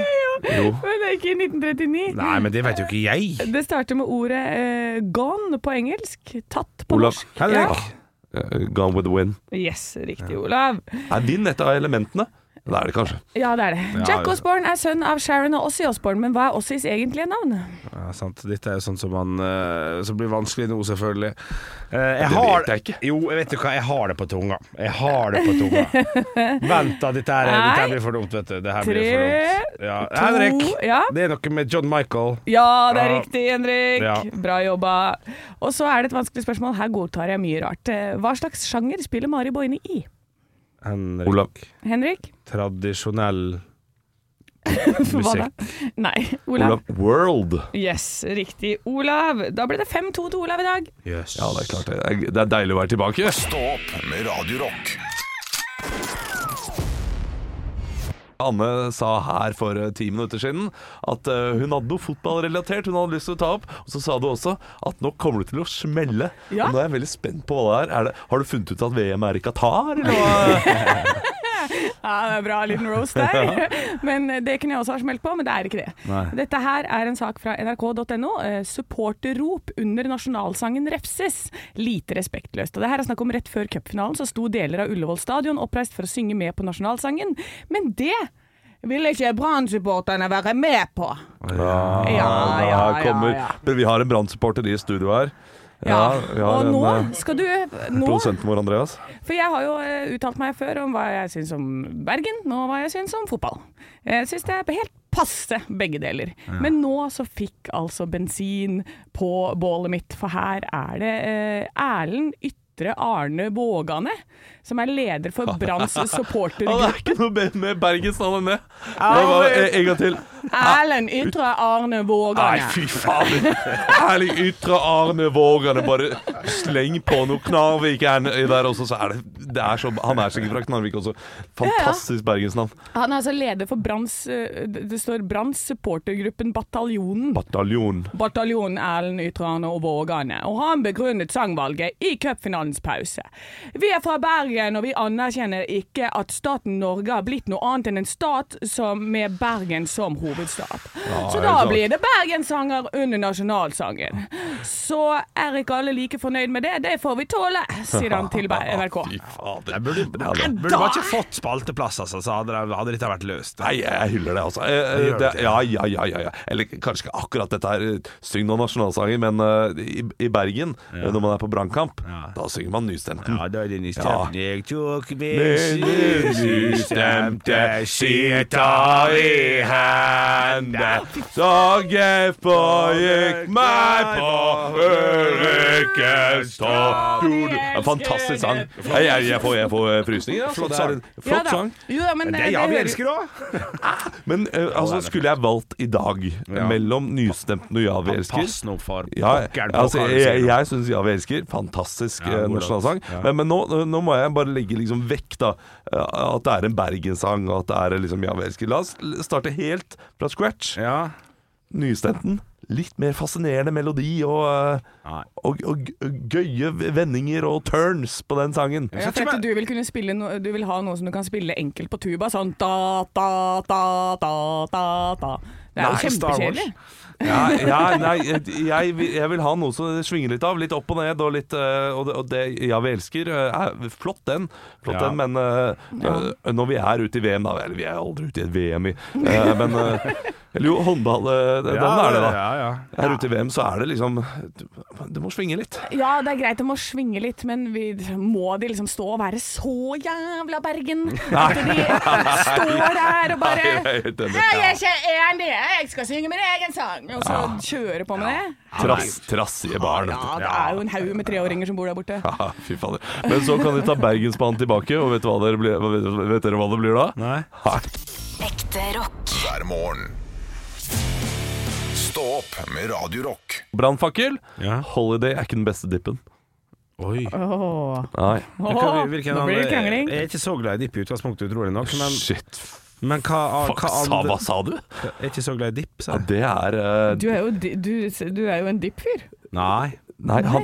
Speaker 5: Jo.
Speaker 4: Men det er ikke i 1939.
Speaker 5: Nei, men det vet jo ikke jeg.
Speaker 4: Det starter med ordet eh, 'gone' på engelsk, tatt på
Speaker 3: Olav.
Speaker 4: norsk.
Speaker 5: Henrik.
Speaker 3: eh, Gone with the wind.
Speaker 4: Ja. Yes, riktig, Olav.
Speaker 3: Er vind et av elementene? Det er det kanskje.
Speaker 4: Ja, det er det.
Speaker 5: Ja,
Speaker 4: Jack
Speaker 5: det-
Speaker 4: Osborne er sønn av Sharon og Ossie Osborne, men hva er Ossies egentlige navn?
Speaker 5: Ja, sant. Dette er jo sånn som, man, eh, som blir vanskelig nå, selvfølgelig. Eh, jeg
Speaker 3: Det
Speaker 5: har,
Speaker 3: vet jeg ikke.
Speaker 5: Jo, jeg vet jo hva, jeg har det på tunga. Jeg har det på tunga. Vent, da. Dette, her, dette her blir for dumt, vet du. Det her blir for dumt. Ja.
Speaker 4: to,
Speaker 5: Henrik!
Speaker 4: ja.
Speaker 5: Det er noe med John Michael.
Speaker 4: Ja, det er
Speaker 5: Ja.
Speaker 4: riktig, Henrik.
Speaker 5: Ja.
Speaker 4: Bra jobba. Og så er det et vanskelig spørsmål. Her godtar jeg mye rart. Eh, Hva slags sjanger spiller Mari Boine i?
Speaker 5: Henrik.
Speaker 3: Olav.
Speaker 4: Henrik?
Speaker 5: Tradisjonell
Speaker 4: Hva da?
Speaker 5: musikk.
Speaker 4: Nei. Olav.
Speaker 3: Olav World.
Speaker 4: Yes, riktig. Olav. Da ble det 5-2 til Olav i dag.
Speaker 5: Yes.
Speaker 3: Ja, det er klart. Det er, det er deilig å være tilbake.
Speaker 2: Stå opp med Radio Rock.
Speaker 3: Anne sa her for eh, ti minutter siden at eh, hun hadde noe fotballrelatert hun hadde lyst til å ta opp. Og så sa du også at nå kommer det til å smelle.
Speaker 4: Ja.
Speaker 3: Og nå er jeg veldig spent på hva det er. er det, har du funnet ut at VM er i Qatar, eller hva?
Speaker 4: Ja, det er bra liten *laughs* roast der. Men eh, det kunne jeg også ha smelt på, men det er ikke det. Dette her er en sak fra nrk.no. Eh, Supporterrop under nasjonalsangen refses. Lite respektløst. Og det her er snakk om rett før cupfinalen, så sto deler av Ullevål stadion oppreist for å synge med på nasjonalsangen. Men det vil ikke Brann-supporterne være med på. Ja,
Speaker 3: Der kommer, Men Vi har en Brann-supporter i studio her.
Speaker 4: Ja,
Speaker 3: vi har
Speaker 4: og
Speaker 3: en,
Speaker 4: nå
Speaker 3: eh,
Speaker 4: skal du nå,
Speaker 3: Produsenten vår, Andreas.
Speaker 4: For jeg har jo eh, uttalt meg før om hva jeg syns om Bergen, og hva jeg syns om fotball. Jeg syns det er helt passe begge deler. Men nå så fikk altså bensin på bålet mitt, for her er det eh, Erlend Ytre Arne Vågane, som er leder for
Speaker 3: *laughs*
Speaker 4: Branns
Speaker 3: Ja, det er
Speaker 4: supportergruppe.
Speaker 3: ikke noe be- med Bergensnavnet med. Det var, en, en gang til.
Speaker 4: Erlend Ytre Arne
Speaker 3: Nei,
Speaker 4: Vågane.
Speaker 3: fy faen. Ærlig ytre Arne Vågane. Bare sleng på noe Knarvik er n- der også, så er det, det er så, Han er sikkert fra Knarvik også. Fantastisk bergensnavn.
Speaker 4: Han er altså leder for Branns eh, Det det står Branns supportergruppen Bataljonen.
Speaker 3: Bataljon.
Speaker 4: Bataljonen Erlend Ytrane og Vågane, og han begrunnet sangvalget i cupfinalens pause. Vi er fra Bergen, og vi anerkjenner ikke at staten Norge har blitt noe annet enn en stat som med Bergen som hovedstad. Så
Speaker 3: helt
Speaker 4: da
Speaker 3: klart.
Speaker 4: blir det Bergensanger under nasjonalsangen. Så er ikke alle like fornøyd med det, det får vi tåle, sier han
Speaker 3: *laughs*
Speaker 4: til Ber- NRK.
Speaker 3: Fy fader.
Speaker 5: Jeg burde, burde, burde bare ikke fått spalteplass, altså, så hadde, det- hadde dette vært løst.
Speaker 3: Nei, jeg hyller det, altså. Eh,
Speaker 5: Det gjør
Speaker 3: det,
Speaker 5: det.
Speaker 3: ja, ja, ja, ja, ja. Eller kanskje ikke akkurat dette her. eh, Syng noen nasjonalsanger, men eh, i, i Bergen, eh, når man er på brannkamp, da synger man nystemten.
Speaker 5: Ja, da er det
Speaker 3: nystemte.
Speaker 5: Jeg tok
Speaker 3: nystemte sitter i hende, så jeg forgikk meg på Røykestadion En fantastisk sang. Jeg, jeg, jeg får, jeg får eh, frysninger. altså. Det er en
Speaker 4: Ja da.
Speaker 3: Flott sang.
Speaker 4: Jo da, men det,
Speaker 5: Det er
Speaker 4: det
Speaker 5: ja vi
Speaker 4: hører-
Speaker 5: elsker òg!
Speaker 3: Men eh, altså, skulle jeg valgt i dag
Speaker 5: Ja.
Speaker 3: mellom nystemten og Ja, vi elsker
Speaker 5: Pass nå for
Speaker 3: ja,
Speaker 5: pokker på
Speaker 3: altså,
Speaker 5: hva du sier
Speaker 3: jeg,
Speaker 5: nå.
Speaker 3: jeg syns Ja, vi elsker. Fantastisk
Speaker 5: Ja,
Speaker 3: eh,
Speaker 5: god
Speaker 3: nasjonalsang.
Speaker 5: låt. Ja.
Speaker 3: Men, men nå, nå må jeg bare legge liksom vekk da eh, at det er en Bergenssang, og at det er liksom Ja, vi elsker. La oss l- starte helt fra scratch.
Speaker 5: Ja.
Speaker 3: Nystemten. Litt mer fascinerende melodi og, eh,
Speaker 5: Nei.
Speaker 3: og, og, og gøye vendinger og turns på den sangen.
Speaker 4: Ja, for at du vil kunne spille no, Du vil ha noe som du kan spille enkelt på tuba, sånn da, da, da, da, da, da. Det er
Speaker 5: Nei,
Speaker 4: jo
Speaker 5: Star Wars.
Speaker 4: kjempekjedelig.
Speaker 3: Ja, ja, nei, jeg, vil- jeg vil ha noe som svinger litt av. Litt opp og ned, og, litt, eh, og, det, og det Ja, vi elsker. eh, er flott, den. Flott
Speaker 5: Ja.
Speaker 3: den, Men eh, eh, når vi er ute i VM, da Eller vi er aldri ute i et VM, i, eh, men eh, Eller jo, håndball. eh, den er det, da.
Speaker 5: Ja, ja.
Speaker 3: Her ute i VM så er det liksom Det må svinge litt.
Speaker 4: Ja, det er greit, det må svinge litt, men vi, må de liksom stå og være så jævla Bergen? At de står der og
Speaker 3: *laughs* Nei, jeg
Speaker 4: bare
Speaker 3: er helt enig.
Speaker 4: «Nei, Jeg er ikke en det, jeg skal synge min egen sang! Og så kjøre på med det.
Speaker 3: Trass, trassige barn.
Speaker 4: Ja,
Speaker 3: vet du.
Speaker 4: det er jo en haug med treåringer som bor der
Speaker 3: *laughs*
Speaker 4: borte.
Speaker 3: Ja, Ah, fy fader. Men så kan de ta Bergensbanen tilbake, og vet, du hva dere blir, hva- vet dere hva det blir da?
Speaker 5: Nei.
Speaker 1: Ekte rock.
Speaker 2: hver morgen. Stå opp med Radio Rock.
Speaker 3: Brannfakkel.
Speaker 5: Ja.
Speaker 3: Holiday er ikke den beste dippen.
Speaker 5: Oi.
Speaker 4: Åh.
Speaker 3: Nei.
Speaker 4: Åh, nå blir det krangling.
Speaker 5: Jeg er ikke så glad i dipp i utgangspunktet, utrolig nok. Men,
Speaker 3: Shit.
Speaker 5: men hva,
Speaker 3: Fuck,
Speaker 5: hva
Speaker 3: sa,
Speaker 5: andre
Speaker 3: hva sa du?
Speaker 5: Jeg er ikke så glad i dipp, sa
Speaker 3: Ja,
Speaker 5: jeg.
Speaker 3: det er eh,
Speaker 4: Du er jo, di- du, du er jo en dipp-fyr.
Speaker 5: Nei.
Speaker 3: Nei, han,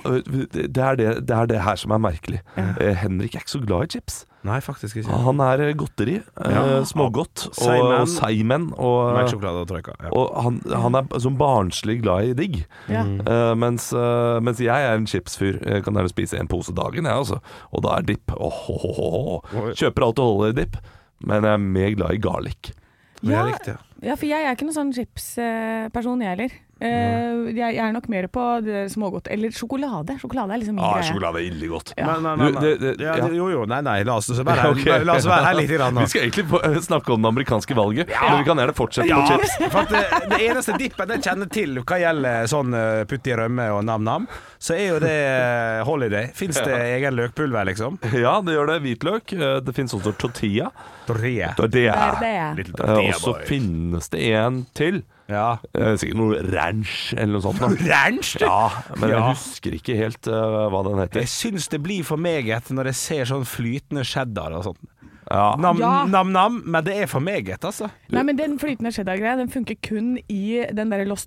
Speaker 3: det, er det, det er det her som er merkelig. Eh, Henrik er ikke så glad i chips.
Speaker 5: Nei, faktisk ikke.
Speaker 3: Han er eh, godteri. eh,
Speaker 5: Ja.
Speaker 3: Smågodt. Og,
Speaker 5: Seigmenn.
Speaker 3: og seigmenn. Og,
Speaker 5: Melksjokolade og troika. Ja.
Speaker 3: og han, han er som barnslig glad i digg.
Speaker 4: Ja.
Speaker 5: Mm.
Speaker 3: Eh, mens, eh, mens jeg er en chipsfyr. Jeg kan gjerne spise en pose dagen, jeg, altså. Og da er dipp. Oh, Åh, åh, åh, åh.
Speaker 5: Oi.
Speaker 3: Kjøper alt og holder i dipp. Men jeg er mer glad i garlic.
Speaker 5: Men jeg
Speaker 4: Ja.
Speaker 5: likte det.
Speaker 4: Ja, for jeg er ikke noen sånn chipsperson, jeg heller. Eh, jeg, jeg er nok mer på det der smågodt. Eller sjokolade. Sjokolade er liksom min
Speaker 3: Ah,
Speaker 4: greie.
Speaker 3: sjokolade er ille godt.
Speaker 5: Men, men, men,
Speaker 3: Du, det- det-
Speaker 5: ja,
Speaker 3: ja.
Speaker 5: det- jo, jo, nei, nei, la oss
Speaker 3: *laughs*
Speaker 5: være
Speaker 3: Ja,
Speaker 5: her,
Speaker 3: ok.
Speaker 5: la oss være her litt grann
Speaker 3: *laughs*
Speaker 5: nå.
Speaker 3: Vi skal egentlig på, snakke om det amerikanske valget, men vi kan gjerne fortsette
Speaker 5: Ja,
Speaker 3: på chips. *laughs*
Speaker 5: for at det, det eneste dippen jeg kjenner til hva gjelder sånn eh, putt i rømme og nam-nam, så er jo det eh, holiday. Fins det egen løkpulver, liksom?
Speaker 3: Ja, det gjør det. Hvitløk. Eh, Det finnes også tortilla.
Speaker 5: Tortilla.
Speaker 3: Det
Speaker 4: Det
Speaker 3: er
Speaker 4: er
Speaker 3: det.
Speaker 4: det.
Speaker 5: Little
Speaker 3: Eh, Og
Speaker 5: tortilla,
Speaker 3: så
Speaker 5: boy.
Speaker 3: finnes det en til.
Speaker 5: Ja.
Speaker 3: Eh, Sikkert noe ranch eller noe sånt.
Speaker 5: *laughs*
Speaker 3: Da.
Speaker 5: Ranch, du!
Speaker 3: Ja, men jeg
Speaker 5: Ja.
Speaker 3: husker ikke helt eh, hva den heter.
Speaker 5: Jeg syns det blir for meget når jeg ser sånn flytende cheddar og sånt.
Speaker 3: Ja.
Speaker 4: Ja.
Speaker 5: Nam-nam, men det er for meget, altså.
Speaker 4: Nei, men Den flytende cheddar-greia Den funker kun i den der Los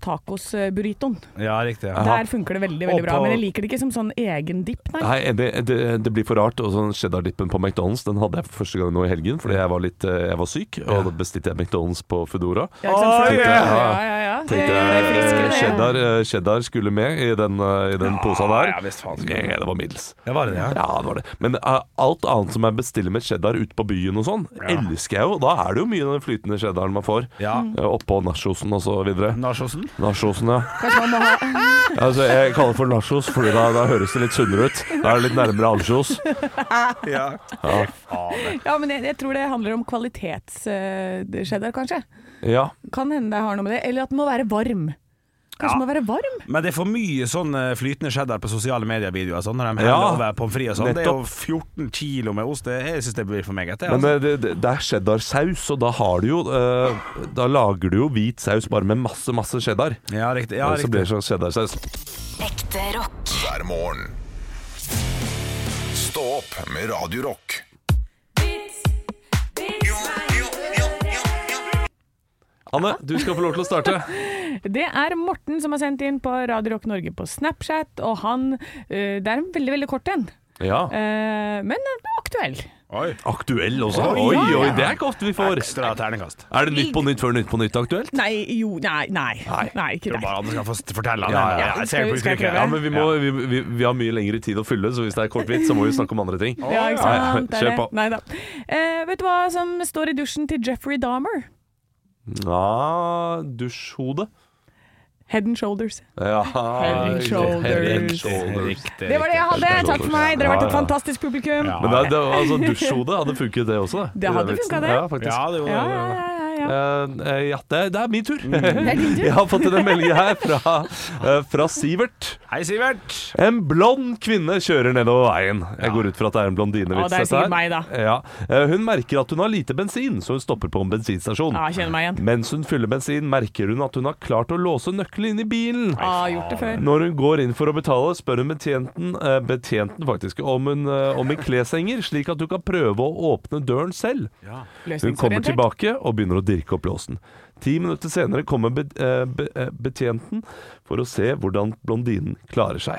Speaker 4: Tacos-burritoen.
Speaker 5: Ja, riktig.
Speaker 4: Der funker det veldig veldig
Speaker 5: Og
Speaker 4: bra.
Speaker 5: på-
Speaker 4: Men jeg liker det ikke som sånn egen dipp, nei.
Speaker 3: Nei, det, det, det blir for rart. Og sånn Cheddar-dippen på McDonald's Den hadde jeg for første gang nå i helgen, fordi jeg var, litt, eh, jeg var syk. Og da bestilte jeg McDonald's på Foodora.
Speaker 4: Ja, ikke sant?
Speaker 5: Å,
Speaker 4: Så-
Speaker 5: ja.
Speaker 4: ja, ja, ja. Det
Speaker 3: Tenkte
Speaker 4: er friskere,
Speaker 3: jeg
Speaker 4: det.
Speaker 3: cheddar, eh, cheddar skulle med i den, eh, i den posen der.
Speaker 5: ja, visst faen skulle det.
Speaker 3: Nei, det var middels.
Speaker 5: Ja, var det det, ja?
Speaker 3: Ja, det var det. Men eh, alt annet som jeg bestiller med cheddar ute på byen og sånn, elsker jeg jo. Da er det jo mye av den flytende cheddaren man får.
Speaker 5: Ja.
Speaker 3: Eh, Oppå nachosen og så videre.
Speaker 5: Nachosen?
Speaker 3: Nachosen, ja.
Speaker 4: Kanskje man må ha
Speaker 3: Altså, jeg kaller det for nachos, fordi da, da høres det litt sunnere ut. Da er det litt nærmere ansjos.
Speaker 5: Ja.
Speaker 4: Ja, men jeg, jeg tror det handler om kvalitets-cheddar, kanskje.
Speaker 3: Ja.
Speaker 4: Kan hende det har noe med det. Eller at den må være varm. Kanskje den må være varm?
Speaker 5: Men det er for mye sånn eh, flytende cheddar på sosiale medier-videoer og sånn, når de heller
Speaker 3: Ja.
Speaker 5: over pommes frites og sånn. Det er jo 14 kilo med ost. Det, jeg syns det blir for meget, det.
Speaker 3: Men
Speaker 5: Altså.
Speaker 3: eh, det, det, det er cheddarsaus, og da har du jo eh, Da lager du jo hvit saus bare med masse, masse cheddar.
Speaker 5: Ja, riktig. Ja,
Speaker 3: Og så blir
Speaker 5: riktig.
Speaker 3: det sånn cheddarsaus.
Speaker 1: Ekte rock.
Speaker 2: hver morgen. Stå opp med Radio Rock.
Speaker 3: Anne, du skal få lov til å starte.
Speaker 4: Det er Morten som har sendt inn på Radio Rock Norge på Snapchat, og han eh, Det er en veldig, veldig kort en,
Speaker 3: Ja.
Speaker 4: eh, men aktuell.
Speaker 5: Oi.
Speaker 3: Aktuell også.
Speaker 5: Oi,
Speaker 3: Oi,
Speaker 5: ja.
Speaker 3: oi, det er ikke ofte vi får.
Speaker 5: Ekstra terningkast.
Speaker 3: Er det Nytt på Nytt før Nytt på Nytt aktuelt?
Speaker 4: Nei, jo, nei, nei. Nei, ikke
Speaker 5: Tror
Speaker 4: det.
Speaker 5: bare han skal få s- fortelle han
Speaker 3: Ja, ja,
Speaker 5: det.
Speaker 4: ja.
Speaker 5: Jeg ser
Speaker 4: Skal- skal
Speaker 5: på
Speaker 4: jeg
Speaker 5: uttrykket.
Speaker 4: prøve?
Speaker 5: Ja,
Speaker 3: Ja, men vi, må, vi, vi, vi har mye lengre tid å fylle, så hvis det er kort vits, så må vi snakke om andre ting.
Speaker 4: Ja, ikke sant?
Speaker 3: Nei,
Speaker 4: det er
Speaker 3: kjør
Speaker 4: det.
Speaker 3: på.
Speaker 4: Nei da. Eh, vet du hva som står i dusjen til Jeffrey Dahmer?
Speaker 3: Ja, dusjhode.
Speaker 4: Head and shoulders.
Speaker 3: Ja.
Speaker 4: Head and shoulders.
Speaker 3: Head and
Speaker 5: Riktig,
Speaker 3: shoulders.
Speaker 5: riktig.
Speaker 4: Det var det jeg hadde!
Speaker 3: Head and
Speaker 4: Takk for meg, dere har vært et fantastisk publikum.
Speaker 5: Ja.
Speaker 3: Men det, det, altså, dusjhode hadde funket, det også. da,
Speaker 4: Det
Speaker 3: i den
Speaker 4: hadde
Speaker 3: vitsen.
Speaker 4: funket, det.
Speaker 3: Ja, faktisk.
Speaker 5: Ja, det var det.
Speaker 4: Ja, ja, ja, ja, ja. Mm.
Speaker 3: Eh, eh, ja, det, det er min tur.
Speaker 4: er din
Speaker 3: *laughs*
Speaker 4: tur.
Speaker 3: Jeg har fått inn en melding her fra, eh, fra Sivert.
Speaker 5: Hei, Sivert.
Speaker 3: En blond kvinne kjører nedover veien. Jeg går ut fra at det er en blondinevits.
Speaker 4: Å,
Speaker 3: dette
Speaker 4: det er
Speaker 3: her.
Speaker 4: sikkert meg, da.
Speaker 3: Ja. Eh, Hun merker at hun har lite bensin, så hun stopper på en bensinstasjon.
Speaker 4: Ja, jeg Ah, kjenner meg igjen.
Speaker 3: Mens hun fyller bensin, merker hun at hun har klart å låse nøkkelen inn i bilen.
Speaker 4: Ah, gjort det før.
Speaker 3: Når hun går inn for å betale, spør hun betjenten, eh, betjenten faktisk, om hun, eh, om hun kleshenger, slik at hun kan prøve å åpne døren selv. Hun kommer
Speaker 4: Løsningsorientert.
Speaker 3: tilbake og begynner å dirke opp låsen. Ti minutter senere kommer be, eh, be, eh, betjenten for å se hvordan blondinen klarer seg.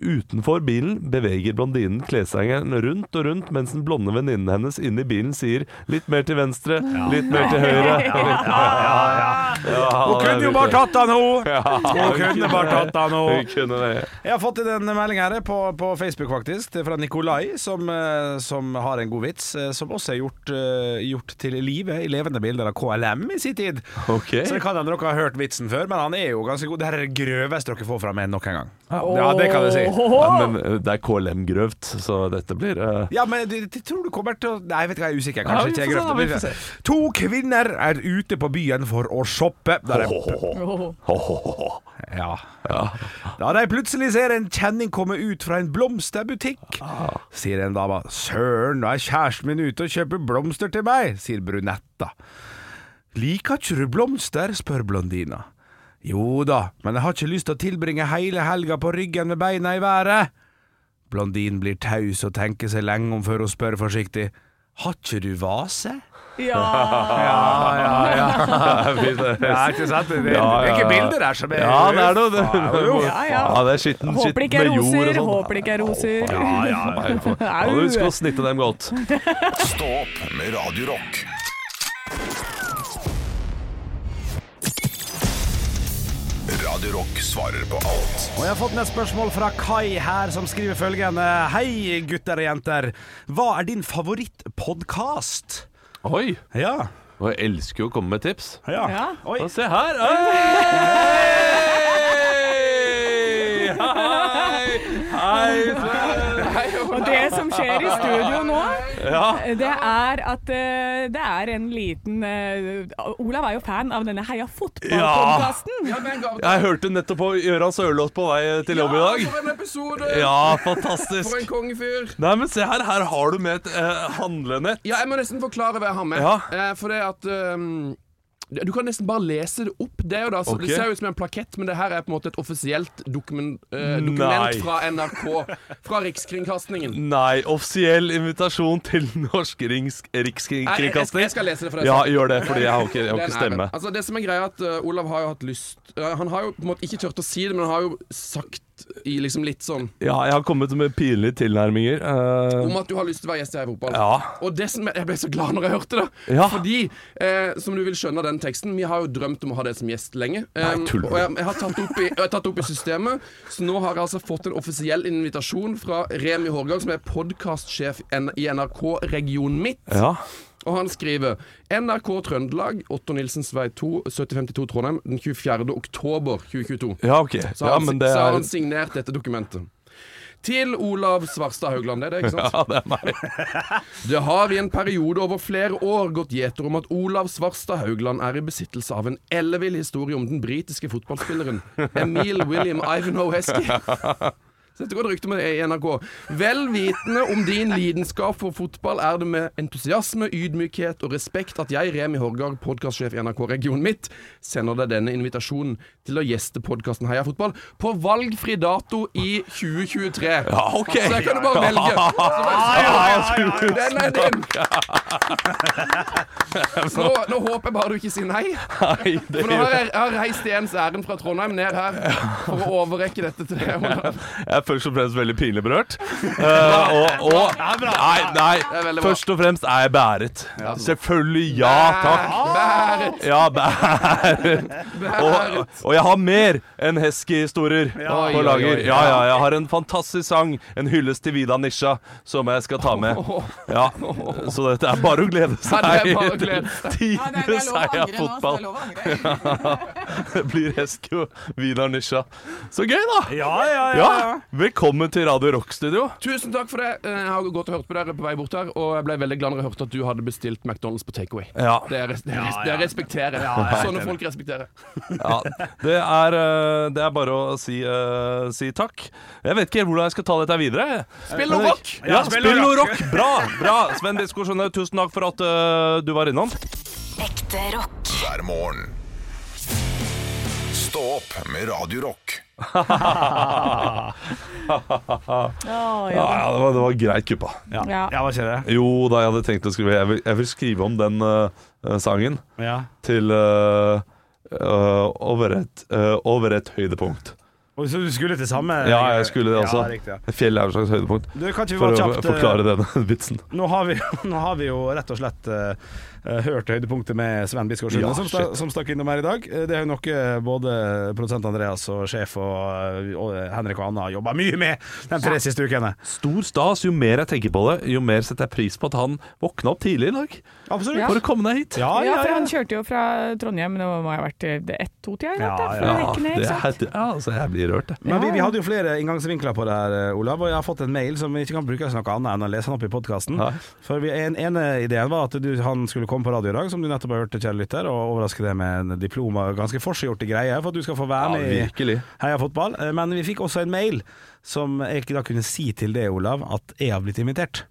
Speaker 3: Utenfor bilen beveger blondinen kleshengeren rundt og rundt mens den blonde venninnen hennes inne i bilen sier 'litt mer til venstre, litt mer til *laughs* høyre'.
Speaker 5: Hun kunne jo bare tatt han, hun! Hun kunne bare tatt han,
Speaker 3: Hun
Speaker 5: hun!
Speaker 3: kunne det.
Speaker 5: Jeg har fått inn en melding her eh, på, på Facebook, faktisk. Det er fra Nikolai, som, eh, som har en god vits. eh, Som også er gjort, eh, gjort til live i levende bilder av KLM i sin tid.
Speaker 3: Ok.
Speaker 5: Så det kan hende dere har hørt vitsen før, men han er jo ganske god. Det her er det grøveste dere får fra meg nok en gang. Ja, det kan jeg si.
Speaker 4: Åhå!
Speaker 3: Men eh, det er KLM-grøvt, så dette blir eh,
Speaker 5: Ja, men det, det tror du kommer til å Nei, vet du hva, jeg er usikker.
Speaker 3: Ja, vi får
Speaker 5: Kanskje ikke
Speaker 3: se,
Speaker 5: jeg grøfter.
Speaker 3: vi
Speaker 5: men
Speaker 3: får
Speaker 5: vi- To kvinner er ute på byen for å shoppe. Da er det
Speaker 4: Åhå.
Speaker 5: Ja. Da de plutselig ser en kjenning komme ut fra en blomsterbutikk, sier en dame 'Søren, nå er kjæresten min ute og kjøper blomster til meg', sier brunetta. 'Liker ikke du blomster?' spør blondina. 'Jo da, men jeg har ikke lyst til å tilbringe hele helga på ryggen med beina i været'. Blondinen blir taus og tenker seg lenge om før hun spør forsiktig 'Har ikke du vase?'
Speaker 3: *laughs*
Speaker 4: Ja.
Speaker 5: Ja, ja, ja. *laughs* Ja, ikke sant? Det, det, det er ikke bilder der som er
Speaker 3: Ja, det er noe. Det,
Speaker 5: Faen,
Speaker 4: Ja, ja.
Speaker 3: det er skitten,
Speaker 4: Håper det ikke
Speaker 3: skitten
Speaker 4: er
Speaker 3: med jord og
Speaker 4: roser,
Speaker 3: sånn.
Speaker 4: håper det ikke er roser.
Speaker 5: Ja, ja,
Speaker 4: *laughs*
Speaker 5: ja.
Speaker 3: Ja, du husker å snitte dem godt.
Speaker 2: Stå opp med Radio Rock. Radio Rock svarer på alt.
Speaker 5: Og jeg har fått med et spørsmål fra Kai her, som skriver følgende. Hei, gutter og jenter. Hva er din favorittpodkast?
Speaker 3: Oi!
Speaker 5: Ja.
Speaker 3: Og jeg elsker jo å komme med tips.
Speaker 4: Ja.
Speaker 5: Oi.
Speaker 3: Og se her! Hei! Hei! Hei, Sven!
Speaker 4: Og det som skjer i studio nå,
Speaker 3: Ja.
Speaker 4: det er at eh, det er en liten eh, Olav er jo fan av denne Heia fotball-podkasten.
Speaker 3: Jeg hørte nettopp på Gøran Sørloth på vei til jobb i dag.
Speaker 7: For en episode!
Speaker 3: Ja,
Speaker 7: For en
Speaker 3: fantastisk.
Speaker 7: kongefyr.
Speaker 3: Nei, men se her. Her har du med et eh, handlenett.
Speaker 7: Ja, jeg må nesten forklare hva jeg har med.
Speaker 3: Ja.
Speaker 7: Eh, for det at ehm, Du kan nesten bare lese det opp. Det, er jo da, så
Speaker 3: Ok.
Speaker 7: det ser jo ut som en plakett, men det her er på en måte et offisielt dokumen, eh, dokument
Speaker 3: Nei.
Speaker 7: fra NRK. Fra Rikskringkastingen.
Speaker 3: Nei, offisiell invitasjon til Norsk rings,
Speaker 7: Nei, jeg- jeg skal-
Speaker 3: Rikskringkasting.
Speaker 7: jeg skal lese det for deg
Speaker 3: Ja,
Speaker 7: selv.
Speaker 3: gjør det, fordi jeg har ikke, jeg har
Speaker 7: Det er
Speaker 3: ikke
Speaker 7: en ære.
Speaker 3: stemme.
Speaker 7: Altså, det som er greia er at eh, Olav har jo hatt lyst eh, Han har jo på en måte ikke turt å si det, men han har jo sagt i liksom litt sånn
Speaker 3: Ja, jeg har kommet med pinlige tilnærminger. eh,
Speaker 7: om at du har lyst til å være gjest i Europal.
Speaker 3: Ja.
Speaker 7: Og det som, jeg ble så glad når jeg hørte det.
Speaker 3: Ja.
Speaker 7: Fordi, eh, som du vil skjønne av den teksten, vi har jo drømt om å ha det som gjest lenge. Um,
Speaker 3: tuller du?
Speaker 7: og jeg, jeg har tatt opp, i, jeg har tatt opp i systemet, så nå har jeg altså fått en offisiell invitasjon fra Remi Hårgang, som er podkastsjef i NRK region midt.
Speaker 3: ja.
Speaker 7: Og han skriver NRK Trøndelag, Otto Nilsens vei 2, 7052 Trondheim, den 24. oktober 2022.
Speaker 3: ja, ok.
Speaker 7: Så har
Speaker 3: Ja,
Speaker 7: han,
Speaker 3: men det
Speaker 7: så har
Speaker 3: er
Speaker 7: han signert dette dokumentet. Til Olav Svarstad Haugland, det er det, ikke
Speaker 3: *laughs*
Speaker 7: sant?
Speaker 3: Ja, det er meg.
Speaker 7: Det har i en periode over flere år gått gjeter om at Olav Svarstad Haugland er i besittelse av en ellevill historie om den britiske fotballspilleren Emil William Ivanhoe Heskey. Så dette går det rykte om i NRK. Vel vitende om din lidenskap for fotball er det med entusiasme, ydmykhet og respekt at jeg, Remi Horgar, podkastsjef i NRK Region Midt, sender deg denne invitasjonen til å gjeste podkasten Heia fotball på valgfri dato i 2023.
Speaker 3: Ja, ok.
Speaker 7: Så jeg kan du
Speaker 3: *laughs*
Speaker 7: bare velge. Så bare, den er din! Nå, nå håper jeg bare du ikke sier nei.
Speaker 3: Nei, det
Speaker 7: For nå har jeg, jeg har reist i ens ærend fra Trondheim ned her for å overrekke dette til deg. Olav.
Speaker 3: Jeg er først og fremst veldig pinlig berørt. Eh, og, og Nei,
Speaker 7: er
Speaker 3: nei.
Speaker 7: veldig bra.
Speaker 3: Først og fremst er jeg bæret. Selvfølgelig. Ja, takk.
Speaker 7: Bæret,
Speaker 3: Ja, bæret. Og,
Speaker 7: bæret.
Speaker 3: og jeg har mer enn Hesky-historier
Speaker 7: Oi,
Speaker 3: på
Speaker 7: oi,
Speaker 3: lager.
Speaker 7: oi.
Speaker 3: Ja, ja, jeg har en fantastisk sang, en hyllest til Vida Nisha, som jeg skal ta
Speaker 7: *laughs*
Speaker 3: med. Ja, Så dette er bare å glede seg.
Speaker 7: Ja, det er bare å glede seg.
Speaker 3: Tidenes seier av fotball. Det blir Hesky og Vida Nisha. Så gøy, da!
Speaker 5: Ja, ja, ja.
Speaker 3: Ja, Velkommen til Radio Rock Studio.
Speaker 7: Tusen takk for det. Eh, Jeg har gått og hørt på dere på vei bort her, og jeg ble veldig glad når jeg hørte at du hadde bestilt McDonald's på takeaway.
Speaker 3: Ja,
Speaker 7: Det, er res- det, er res- det respekterer jeg. Sånne folk respekterer.
Speaker 3: ja. Det, er, eh, det er bare å si, eh, si takk. Jeg vet ikke helt hvordan jeg skal ta dette videre. jeg.
Speaker 7: Spill noe rock!
Speaker 3: Ja, spill og rock! Bra! bra Sven Disko Skjønhaug, tusen takk for at eh, du var innom.
Speaker 1: Ekte rock.
Speaker 2: hver morgen. Stå opp med Radio Rock.
Speaker 4: Å,
Speaker 3: Ja,
Speaker 4: ja.
Speaker 3: ja det, var, det var greit kuppa.
Speaker 5: Ja,
Speaker 4: Ja.
Speaker 5: ja hva skjer det?
Speaker 3: Jo da, jeg hadde tenkt å skrive Jeg vil, jeg vil skrive om den eh, eh, sangen
Speaker 5: Ja.
Speaker 3: til eh, eh, over, et, eh, over et høydepunkt.
Speaker 5: Å Og så du skulle til samme
Speaker 3: Ja, jeg skulle det
Speaker 5: Ja, riktig,
Speaker 3: altså.
Speaker 5: ja.
Speaker 3: Fjell er et slags høydepunkt.
Speaker 5: Du, kan ikke vi
Speaker 3: For
Speaker 5: bare
Speaker 3: å
Speaker 5: kjapt eh,
Speaker 3: forklare denne *laughs* vitsen.
Speaker 5: Nå har, vi, nå har vi jo *laughs* rett og slett eh, hørt høydepunktet med Sven Biskår Sunde,
Speaker 3: Ja,
Speaker 5: som, sta,
Speaker 3: shit.
Speaker 5: som stakk innom her i dag. Eh, Det er jo noe både produsent Andreas og sjef og, eh, og Henrik og Anna har jobba mye med de tre siste ukene.
Speaker 3: Stor stas. Jo mer jeg tenker på det, jo mer setter jeg pris på at han våkna opp tidlig i dag
Speaker 5: Absolutt.
Speaker 4: Ja.
Speaker 3: for å komme deg hit.
Speaker 5: Ja,
Speaker 4: Ja,
Speaker 5: ja,
Speaker 4: for
Speaker 5: ja.
Speaker 4: han kjørte jo fra Trondheim, nå må jeg ha vært eh, ett-to-tida i
Speaker 5: Ja,
Speaker 4: natt, da, for
Speaker 5: ja.
Speaker 4: å rekke ned,
Speaker 3: det
Speaker 4: ikke sant?
Speaker 3: er, ja altså, jeg blir rørt, jeg.
Speaker 5: Men vi,
Speaker 4: Ja,
Speaker 5: vi
Speaker 4: ja.
Speaker 5: hadde jo flere inngangsvinkler på det her, eh, Olav, og jeg har fått en mail som ikke kan brukes noe annet enn å lese den opp i podkasten.
Speaker 3: Ja.
Speaker 5: For vi, en, ene ideen var at du, han skulle komme på radio i dag, som du nettopp har hørt, kjære lytter, og overraske deg med en diplom og ganske forseggjorte greier, for at du skal få være med i
Speaker 3: virkelig.
Speaker 5: Heia fotball. Eh, Men vi fikk også en mail som jeg ikke da kunne si til det, Olav, at jeg har blitt invitert.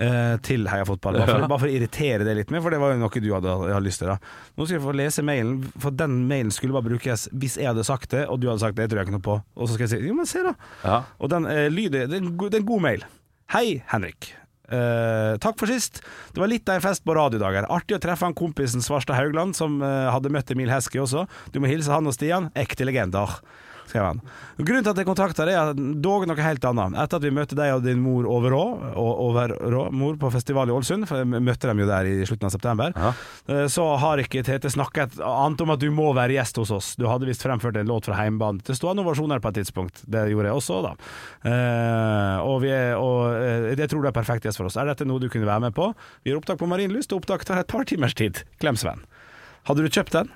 Speaker 5: eh, Til Heia fotball, bare for,
Speaker 3: Ja.
Speaker 5: bare for å irritere det litt mer, for det var jo noe du hadde, hadde lyst til. da Nå skal jeg få lese mailen, for den mailen skulle bare brukes hvis jeg hadde sagt det, og du hadde sagt det, jeg tror jeg ikke noe på. Og så skal jeg si jo, men se da.
Speaker 3: Ja.
Speaker 5: Og den eh, lyder det er, en god, det er en god mail. Hei, Henrik. Eh, takk for sist. Det var litt av en fest på radiodager. Artig å treffe han kompisen Svarstad Haugland, som eh, hadde møtt Emil Heske også. Du må hilse han og Stian. Ekte legender. skrev han. Grunnen til at jeg kontakta deg, er dog noe helt annet. Etter at vi møtte deg og din mor over Rå, og over Rå, mor på festival i Ålesund, for jeg møtte dem jo der i slutten av september, eh, så har ikke Tete snakket annet om at du må være gjest hos oss. Du hadde visst fremført en låt fra heimbane til stående ovasjoner på et tidspunkt. Det gjorde jeg også, da. Eh, og vi er, og, eh, jeg tror du er perfekt gjest for oss. Er dette noe du kunne være med på? Vi gjør opptak på Marienlyst, og opptak tar et par timers tid. Klem Sven. Hadde du kjøpt den?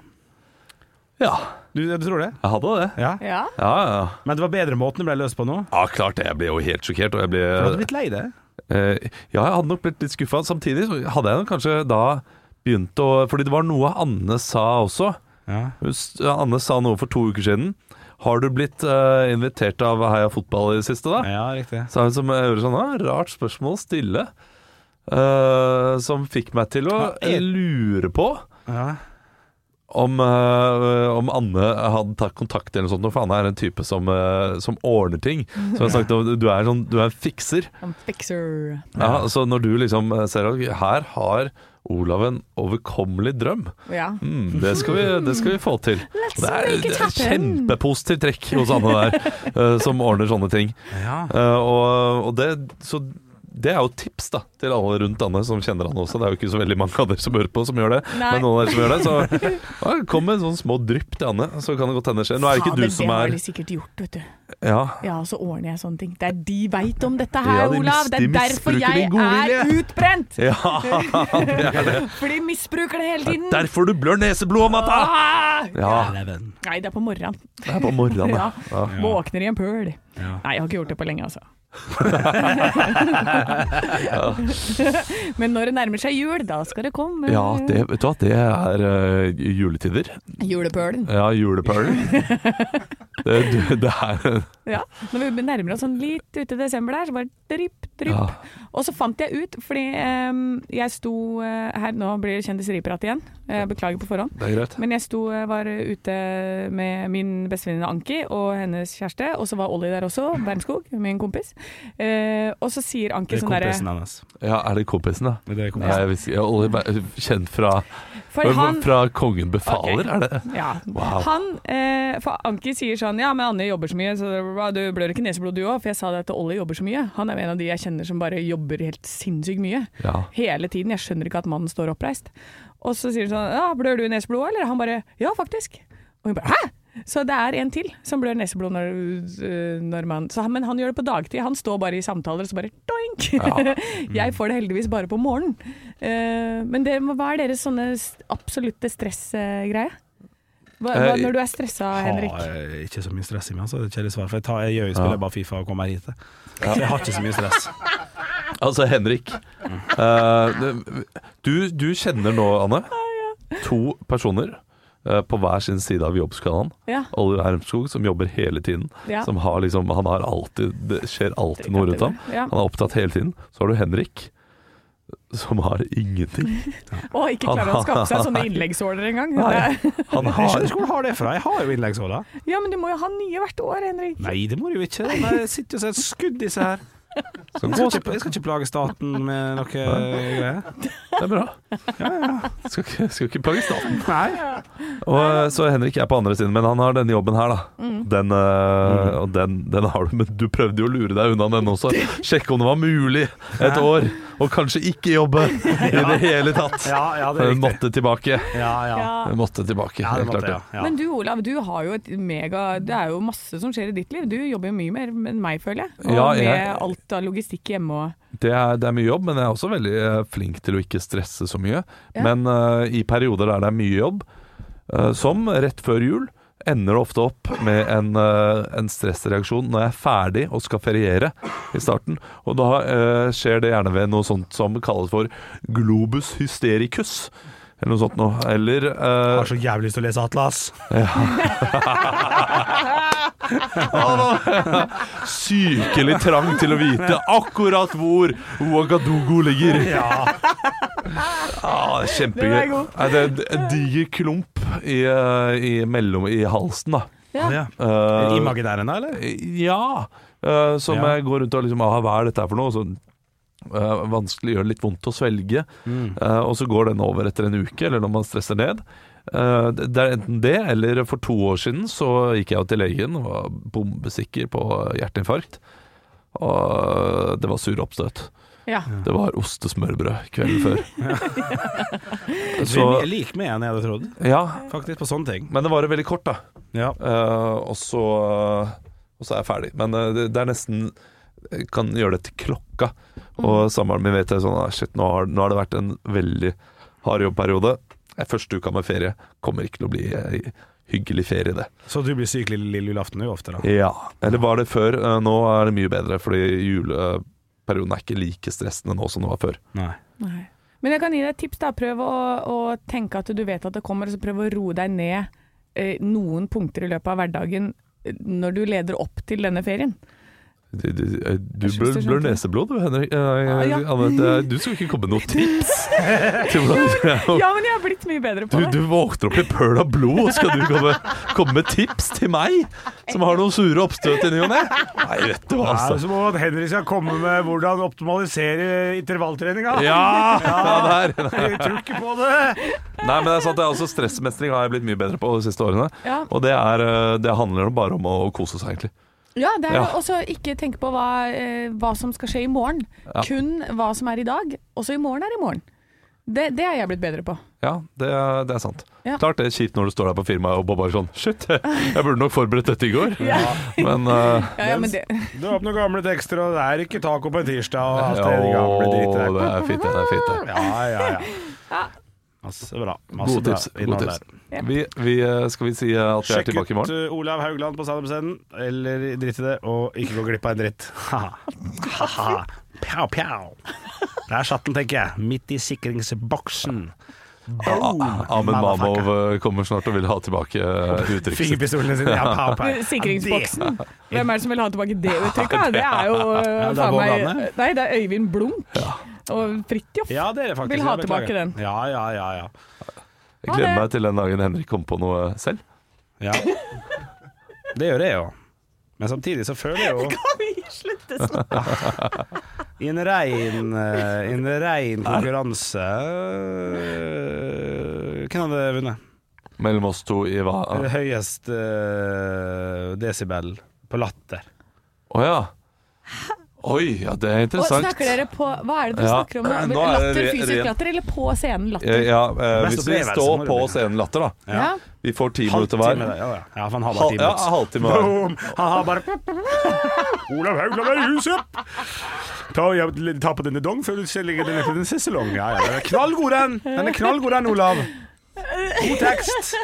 Speaker 3: ja,
Speaker 5: Du, du tror det?
Speaker 3: jeg hadde det.
Speaker 5: Ja.
Speaker 4: Ja.
Speaker 3: Ja, ja.
Speaker 5: Men det var bedre måten det ble løst på nå?
Speaker 3: ja klart det. Jeg ble jo helt sjokkert. Og jeg ble,
Speaker 5: Du hadde blitt lei det?
Speaker 3: Eh, ja, jeg hadde nok blitt litt skuffa. Samtidig så hadde jeg nok kanskje da begynt å Fordi det var noe Anne sa også.
Speaker 5: Ja.
Speaker 3: Hun s- Anne sa noe for to uker siden. Har du blitt eh, invitert av Heia Fotball i det siste, da?
Speaker 5: Ja, riktig.
Speaker 3: Sa hun som jeg hører sånn «Å, Rart spørsmål, stille. Eh, som fikk meg til å
Speaker 5: Ja, jeg-
Speaker 3: lure på
Speaker 5: Ja.
Speaker 3: om, eh, om Anne hadde tatt kontakt eller noe sånt. For Anne er en type som, eh, som ordner ting. Som jeg har sagt, du du er, en sånn, du er en fikser.
Speaker 4: I'm fixer.
Speaker 3: Ja, så når du liksom eh, ser at her har Olav en overkommelig drøm,
Speaker 4: Ja.
Speaker 3: mm, det, skal vi, det skal vi få *laughs* til.
Speaker 4: Let's
Speaker 3: Det er,
Speaker 4: make it
Speaker 3: det er
Speaker 4: happen.
Speaker 3: kjempepositivt trekk hos Anne der, eh, som ordner sånne ting.
Speaker 5: Ja.
Speaker 3: Eh, og, og det, så det er jo tips da til alle rundt Anne som kjenner Anne også. Det er jo ikke så veldig mange av dere som hører på som gjør det,
Speaker 4: Nei.
Speaker 3: men noen av dere som gjør det. Så ja, kom med sånne små drypp til Anne, så kan det godt hende skje. Nå er det
Speaker 4: Fader,
Speaker 3: ikke du som
Speaker 4: Det har
Speaker 3: er
Speaker 4: de sikkert gjort, vet du.
Speaker 3: ja,
Speaker 4: Ja, og så ordner jeg sånne ting. Det er de veit om dette her,
Speaker 3: Ja, de mis-
Speaker 4: Olav. Det
Speaker 3: de
Speaker 4: er derfor
Speaker 3: misbruker din
Speaker 4: jeg
Speaker 3: godvilje.
Speaker 4: er utbrent!
Speaker 3: ja,
Speaker 4: For de misbruker det hele tiden.
Speaker 3: derfor du blør neseblod om natta!
Speaker 4: Ah!
Speaker 3: Ja,
Speaker 4: Nei, det er på morgenen.
Speaker 3: det er på morgenen. da.
Speaker 4: Ja.
Speaker 3: Ja.
Speaker 4: Våkner i en pøl. Nei, jeg har ikke gjort det på lenge,
Speaker 3: *laughs*
Speaker 4: altså. Men når det nærmer seg jul, da skal det komme
Speaker 3: Ja, det, vet du hva, det er eh, juletider.
Speaker 4: julepølen.
Speaker 3: Ja,
Speaker 4: *laughs*
Speaker 3: julepølen. det, det, det er
Speaker 4: Ja. Når vi nærmer oss sånn litt ute i desember der, så bare drypp, drypp.
Speaker 3: ja.
Speaker 4: Og så fant jeg ut, fordi em, jeg sto eh, her Nå blir det kjendiseriprat igjen, jeg beklager på forhånd.
Speaker 3: Det er greit.
Speaker 4: Men jeg sto, eh, var ute med min bestevenninne Anki og hennes kjæreste, og så var Olli der også, Bernskog, min kompis. Eh, og så sier Anki
Speaker 5: Det er
Speaker 4: sånn
Speaker 5: kompisen
Speaker 4: derre
Speaker 5: hennes.
Speaker 3: Ja, er det kompisen, da?
Speaker 5: Det er kompisen.
Speaker 3: Nei, jeg visste ikke. Olli Ber- Kjent fra
Speaker 4: For han
Speaker 3: Fra Kongen befaler,
Speaker 4: Ok.
Speaker 3: er det?
Speaker 4: Ja.
Speaker 3: Wow.
Speaker 4: Han, eh, for Anki sier sånn Ja, men Anne jobber så mye, så bra, du blør ikke neseblod du òg. For jeg sa det til Olli jobber så mye. Han er jo en av de jeg kjenner som bare jobber helt sinnssykt mye.
Speaker 3: Ja.
Speaker 4: Hele tiden. Jeg skjønner ikke at mannen står oppreist. Og så sier hun sånn Ja, blør du neseblod òg, eller? Han bare Ja, faktisk. Og hun bare Hæ? Så det er en til som blør neseblod når, øh, når man så, han- Men han gjør det på dagtid. Han står bare i samtaler og så bare doink! *laughs*
Speaker 3: Mm.
Speaker 4: jeg får det heldigvis bare på morgenen. Eh, men det, hva er deres sånne s- absolutte stressgreie? Hva, hva,
Speaker 3: Eh,
Speaker 4: når du er stressa, Henrik?
Speaker 5: Har eh, ikke så mye stress i meg, altså. Det er et kjedelig svar. For jeg, tar, jeg gjør jo spiller bare Fifa og kommer her hit. jeg. Så jeg har ikke så mye *laughs* stress.
Speaker 3: Altså, Henrik. eh, det- du, du kjenner nå, Anne, to personer eh, på hver sin side av jobbskalaen.
Speaker 4: Ja.
Speaker 3: Olli Ermskog, som jobber hele tiden.
Speaker 4: Ja.
Speaker 3: Som har liksom, han har alltid, det skjer alltid noe rundt ham.
Speaker 4: Ja.
Speaker 3: Han er opptatt hele tiden. Så har du Henrik, som har ingenting.
Speaker 4: Og ikke klarer å skape seg sånne innleggsåler engang.
Speaker 3: Nei, han
Speaker 5: Jeg skjønner
Speaker 3: har
Speaker 4: *laughs*
Speaker 5: ikke hvor du har det fra. Jeg har jo innleggsåla.
Speaker 4: Ja, men du må jo ha nye hvert år, Henrik.
Speaker 5: Nei, det må du jo ikke. Nei, jeg sitter jo som et skudd, disse her. Jeg skal, ikke, jeg skal ikke plage staten med noe greier.
Speaker 3: Det er bra. Skal ikke, skal ikke plage staten.
Speaker 5: Nei. Mm.
Speaker 3: Og, eh, så Henrik er på andre siden, men han har denne jobben her, da. Den, eh, og den, den har du, men du prøvde jo å lure deg unna den også. Sjekke om det var mulig et år, og kanskje ikke
Speaker 5: *laughs*
Speaker 3: jobbe i det hele tatt.
Speaker 5: Ja, ja, det er
Speaker 3: Hun
Speaker 5: riktig.
Speaker 3: måtte tilbake.
Speaker 5: Ja, ja.
Speaker 4: Ja.
Speaker 3: Hun måtte tilbake.
Speaker 5: ja, det
Speaker 3: helt klart
Speaker 5: måtte,
Speaker 3: det.
Speaker 5: ja. ja.
Speaker 4: Men du Olav, du har jo et mega Det er jo masse som skjer i ditt liv. Du jobber jo mye mer enn meg, føler jeg. Og
Speaker 3: Ja,
Speaker 4: med
Speaker 3: jeg-
Speaker 4: alt av logistikk hjemme og
Speaker 3: Det er, det er mye jobb, men jeg er også veldig eh, flink til å ikke stresse så mye.
Speaker 4: Ja.
Speaker 3: Men eh, i perioder der det er mye jobb, eh, som rett før jul, ender det ofte opp med en, eh, en stressreaksjon når jeg er ferdig og skal feriere i starten. Og da eh, skjer det gjerne ved noe sånt som kalles for globus hystericus. Eller noe sånt noe. Eller eh,
Speaker 5: Har så jævlig lyst til å lese Atlas.
Speaker 3: sykelig trang til å vite akkurat hvor Ouagadougou ligger.
Speaker 5: Ja.
Speaker 3: *laughs* Ah,
Speaker 4: Den
Speaker 3: kjempegøy.
Speaker 4: er god.
Speaker 3: Nei, Det er en diger klump i, eh, i, mellom, i halsen, da.
Speaker 5: ja.
Speaker 3: Eh,
Speaker 5: Imaginæren, da, eller?
Speaker 3: ja. eh, som
Speaker 5: Ja.
Speaker 3: jeg går rundt og liksom ah, Hva er dette her for noe? Og så, eh, vanskelig, gjør det litt vondt å svelge. Eh, og så går den over etter en uke, eller når man stresser ned. Eh, det det er enten det, eller for to år siden så gikk jeg jo til legen og var bombesikker på hjerteinfarkt. Og det var sur oppstøt.
Speaker 4: Ja.
Speaker 3: Det var ostesmørbrød kvelden før.
Speaker 5: Så...
Speaker 3: Så
Speaker 5: Lik med enn jeg hadde trodd,
Speaker 3: ja,
Speaker 5: faktisk, på sånne ting.
Speaker 3: men det varer veldig kort, da.
Speaker 5: Ja.
Speaker 3: Eh, og, så, og så er jeg ferdig. Men eh, det, det er nesten jeg Kan gjøre det til klokka.
Speaker 4: Mm.
Speaker 3: Og samboeren min vet jeg sånn ah, Shit, nå har, nå har det vært en veldig hard jobbperiode. Det er Første uka med ferie kommer ikke til å bli eh, hyggelig ferie, det.
Speaker 5: Så du blir syk lille, lille julaften jo ofte, da.
Speaker 3: Ja. Eller var det før? Eh, nå er det mye bedre, fordi juleperioden er ikke like stressende nå som det var før.
Speaker 5: Nei.
Speaker 4: Nei. Men jeg kan gi deg et tips. da Prøv å, å tenke at du vet at det kommer, og så prøv å roe deg ned eh, noen punkter i løpet av hverdagen eh, når du leder opp til denne ferien.
Speaker 3: Du, du, eh, du
Speaker 4: Jeg synes
Speaker 3: blør,
Speaker 4: du skjønte
Speaker 3: blør
Speaker 4: det.
Speaker 3: neseblod, du, Henrik. Eh,
Speaker 4: Ah, ja.
Speaker 3: Anne, det er- du skal ikke komme med
Speaker 4: *laughs*
Speaker 3: noe tips til hvordan
Speaker 4: Ja, men jeg har blitt mye bedre på
Speaker 3: Du,
Speaker 4: det.
Speaker 3: du våkner opp i pøl av blod, og skal du komme, komme med tips til meg? Som har noen sure oppstøt i ny og ne? Nei, vet du hva,
Speaker 5: Det er
Speaker 3: altså.
Speaker 5: som om at Henrik skal komme med hvordan optimalisere intervalltreninga.
Speaker 3: Ja! ja der.
Speaker 5: *laughs* Jeg tror ikke på det!
Speaker 3: Nei, men det er sant, det er også stressmestring har jeg blitt mye bedre på de siste årene.
Speaker 4: Ja.
Speaker 3: Og det, er, eh, det handler bare om å kose seg, egentlig.
Speaker 4: Ja, det er
Speaker 3: Ja.
Speaker 4: jo også ikke tenke på hva, eh, hva som skal skje i morgen. Kun hva som er i dag. Også i morgen er i morgen. Det, det er jeg blitt bedre på.
Speaker 3: Ja, det, er- det er sant.
Speaker 4: Ja.
Speaker 3: Klart det er kjipt når du står der på firmaet og bare sånn Shit, jeg burde nok forberedt dette i går. Men eh,
Speaker 4: Ja, ja, men det, *laughs*
Speaker 5: Du har opp noen gamle tekster, og det er ikke taco på en tirsdag. Og alt
Speaker 3: ja,
Speaker 5: det gamle
Speaker 3: å,
Speaker 5: dritet
Speaker 3: det
Speaker 5: der.
Speaker 3: er fint, det. det er fint det.
Speaker 5: Ja, ja, ja. Masse bra. Masse
Speaker 3: Gode tips.
Speaker 5: bra
Speaker 3: Gode
Speaker 5: innhold
Speaker 3: tips.
Speaker 5: der.
Speaker 3: Vi, vi, eh, skal vi si eh, at vi er
Speaker 5: Sjekk
Speaker 3: tilbake i
Speaker 5: ut
Speaker 3: morgen?
Speaker 5: uh, Olav Haugland på standup-scenen, eller drit i det, og ikke gå glipp av en dritt. Ha-ha. Pjau, pjau. Der satt den, tenker jeg. Midt i sikringsboksen. Boom,
Speaker 3: Ahmed
Speaker 5: motherfucker.
Speaker 3: Mamov eh, kommer snart og vil ha tilbake
Speaker 4: *laughs*
Speaker 3: eh, uttrykket. sitt.
Speaker 5: Fingerpistolene sine. Ja, pow, pow.
Speaker 4: sikringsboksen. Hvem er det som vil ha tilbake det uttrykket? Det er jo eh,
Speaker 5: det er
Speaker 4: faen
Speaker 5: Bård
Speaker 4: meg
Speaker 5: Anne.
Speaker 4: Nei, det er Øyvind Blunk og Fridtjof.
Speaker 5: Ja, det er det faktisk.
Speaker 4: Vil ha
Speaker 5: Jeg beklager.
Speaker 4: tilbake den.
Speaker 5: Ja, ja, ja. ja.
Speaker 3: Jeg
Speaker 4: Ha
Speaker 3: gleder
Speaker 4: det.
Speaker 3: meg til den dagen Henrik kommer på noe selv.
Speaker 5: ja. Det gjør jeg jo. Men samtidig så føler jeg jo
Speaker 4: *laughs* Kan vi slutte sånn?
Speaker 5: I en rein, eh, i en rein konkurranse eh, Hvem hadde vunnet?
Speaker 3: Mellom oss to i hva Å
Speaker 5: Høyest eh, desibel på latter.
Speaker 3: ja. Oi, ja, det er
Speaker 4: Og
Speaker 3: interessant.
Speaker 4: snakker dere på Hva er det dere
Speaker 3: Ja.
Speaker 4: snakker om? nå?
Speaker 3: Nå er det
Speaker 4: Latter,
Speaker 3: re-
Speaker 4: fysisk
Speaker 3: ren-
Speaker 4: latter, eller på scenen
Speaker 3: Eh,
Speaker 4: latter?
Speaker 3: Ja, eh,
Speaker 5: Mest
Speaker 3: hvis vi
Speaker 5: opplevelse må
Speaker 3: står
Speaker 5: det
Speaker 3: på
Speaker 5: bli.
Speaker 3: scenen Latter, da.
Speaker 4: Ja.
Speaker 3: Vi får ti minutter hver.
Speaker 5: Halvtime, ja, ja. ja, for han har bare
Speaker 3: Hal
Speaker 5: ti
Speaker 3: ja,
Speaker 5: minutter.
Speaker 3: halvtime hver.
Speaker 5: Boom! Han har bare Olav Haugland er i huset! Ta, ja, ta på denne dong før du legger den ned til den siste long. Ja, ja. Den er knallgod, den! Den er knallgod, den, Olav. God tekst.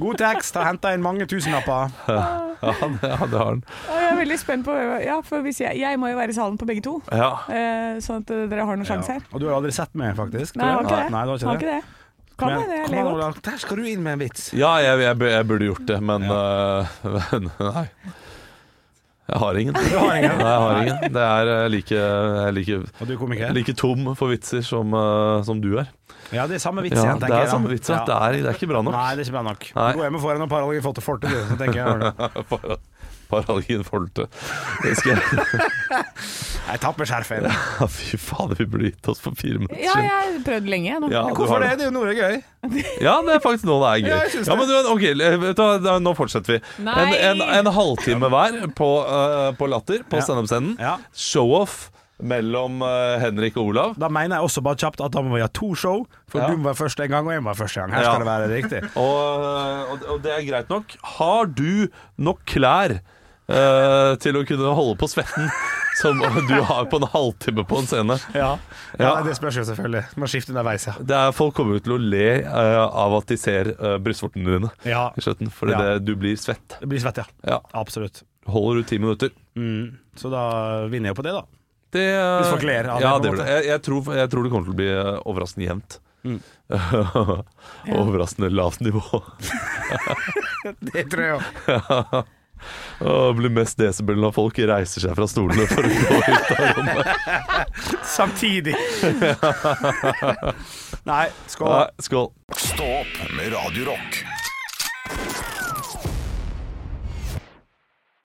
Speaker 5: God tekst. Har henta inn mange tusenlapper.
Speaker 3: *laughs* Ja, det, ja, det har han.
Speaker 4: Å, Jeg er veldig spent på Ja, for hvis jeg, jeg må jo være i salen på begge to,
Speaker 3: Ja.
Speaker 4: eh, sånn at eh, dere har noen sjanse
Speaker 5: Ja.
Speaker 4: her.
Speaker 5: Og du har aldri sett meg, faktisk?
Speaker 4: Nei, jeg har ikke det.
Speaker 5: Nei, du har ikke
Speaker 4: Har
Speaker 5: det.
Speaker 4: ikke det. Kan
Speaker 5: Men-
Speaker 4: jeg det? Jeg ler
Speaker 5: Kom
Speaker 4: godt.
Speaker 5: igjen, Olav. Der skal du inn med en vits.
Speaker 3: Ja, jeg, jeg, bu- jeg burde gjort det, men eh, *laughs* men, Nei. Jeg har ingen. Nei,
Speaker 5: har
Speaker 3: jeg
Speaker 5: ingen.
Speaker 3: har ingen. Det er eh, like, jeg er like,
Speaker 5: Og du er komiker?
Speaker 3: like tom for vitser som, eh, som du er.
Speaker 5: Ja, det er samme vits
Speaker 3: Ja,
Speaker 5: igjen,
Speaker 3: det
Speaker 5: tenker
Speaker 3: er
Speaker 5: jeg.
Speaker 3: samme vits. Ja. Det, er, det er ikke bra nok.
Speaker 5: Nei, det er ikke bra nok.
Speaker 3: Nei.
Speaker 5: *laughs* Gå hjem og få deg noen paralleller i fortet, så tenker jeg.
Speaker 3: Paralgin Forte. Det skal jeg *laughs*
Speaker 5: Jeg tapper skjerfet.
Speaker 3: Ja, fy fader, vi burde gitt oss for fire minutter
Speaker 4: Ja, jeg har prøvd lenge jeg, nå.
Speaker 3: Ja, du har
Speaker 5: Hvorfor det? Det er jo noe gøy.
Speaker 3: Ja, det er faktisk noe det er gøy.
Speaker 5: Ja,
Speaker 3: Ja,
Speaker 5: jeg synes
Speaker 3: men du, ok, vet du, hva, da- Nå fortsetter vi. En,
Speaker 4: Nei.
Speaker 3: en, en halvtime hver på, eh, på Latter, på standup-scenen.
Speaker 5: Ja.
Speaker 3: Show-off mellom eh, Henrik og Olav.
Speaker 5: Da mener jeg også bare kjapt at da må vi ha to show, for
Speaker 3: Ja.
Speaker 5: du må være først en gang, og jeg må være første gang. Her
Speaker 3: Ja.
Speaker 5: skal det være riktig.
Speaker 3: Og, eh, og, og det er greit nok. Har du nok klær eh, til å kunne holde på svetten som du har på en halvtime på en scene?
Speaker 5: *laughs* Ja,
Speaker 3: Ja.
Speaker 5: Det spørs jo selvfølgelig. Må skifte underveis, ja.
Speaker 3: Det er, folk kommer jo til å le eh, av at de ser uh, brystvortene dine
Speaker 5: Ja.
Speaker 3: i skjøtten, fordi
Speaker 5: Ja.
Speaker 3: det, du blir svett.
Speaker 5: Det blir svett, ja.
Speaker 3: Ja.
Speaker 5: Absolutt. Mm.
Speaker 3: Holder du ti minutter?
Speaker 5: Så da vinner jeg jo på det, da.
Speaker 3: Det, eh,
Speaker 5: Hvis folk ler av det,
Speaker 3: ja,
Speaker 5: på en
Speaker 3: det.
Speaker 5: måte.
Speaker 3: blir- Jeg, jeg, tror, jeg tror det kommer til å bli eh, overraskende jevnt.
Speaker 5: Mm.
Speaker 3: *laughs* overraskende lavt nivå. *laughs*
Speaker 5: Det tror jeg jo.
Speaker 3: Å, Det blir mest desibel når folk reiser seg fra stolene for å gå ut
Speaker 5: *laughs*
Speaker 3: av rommet.
Speaker 5: *laughs* Samtidig. Nei, skål.
Speaker 3: Nei, Skål.
Speaker 2: Stå opp med Radio Rock.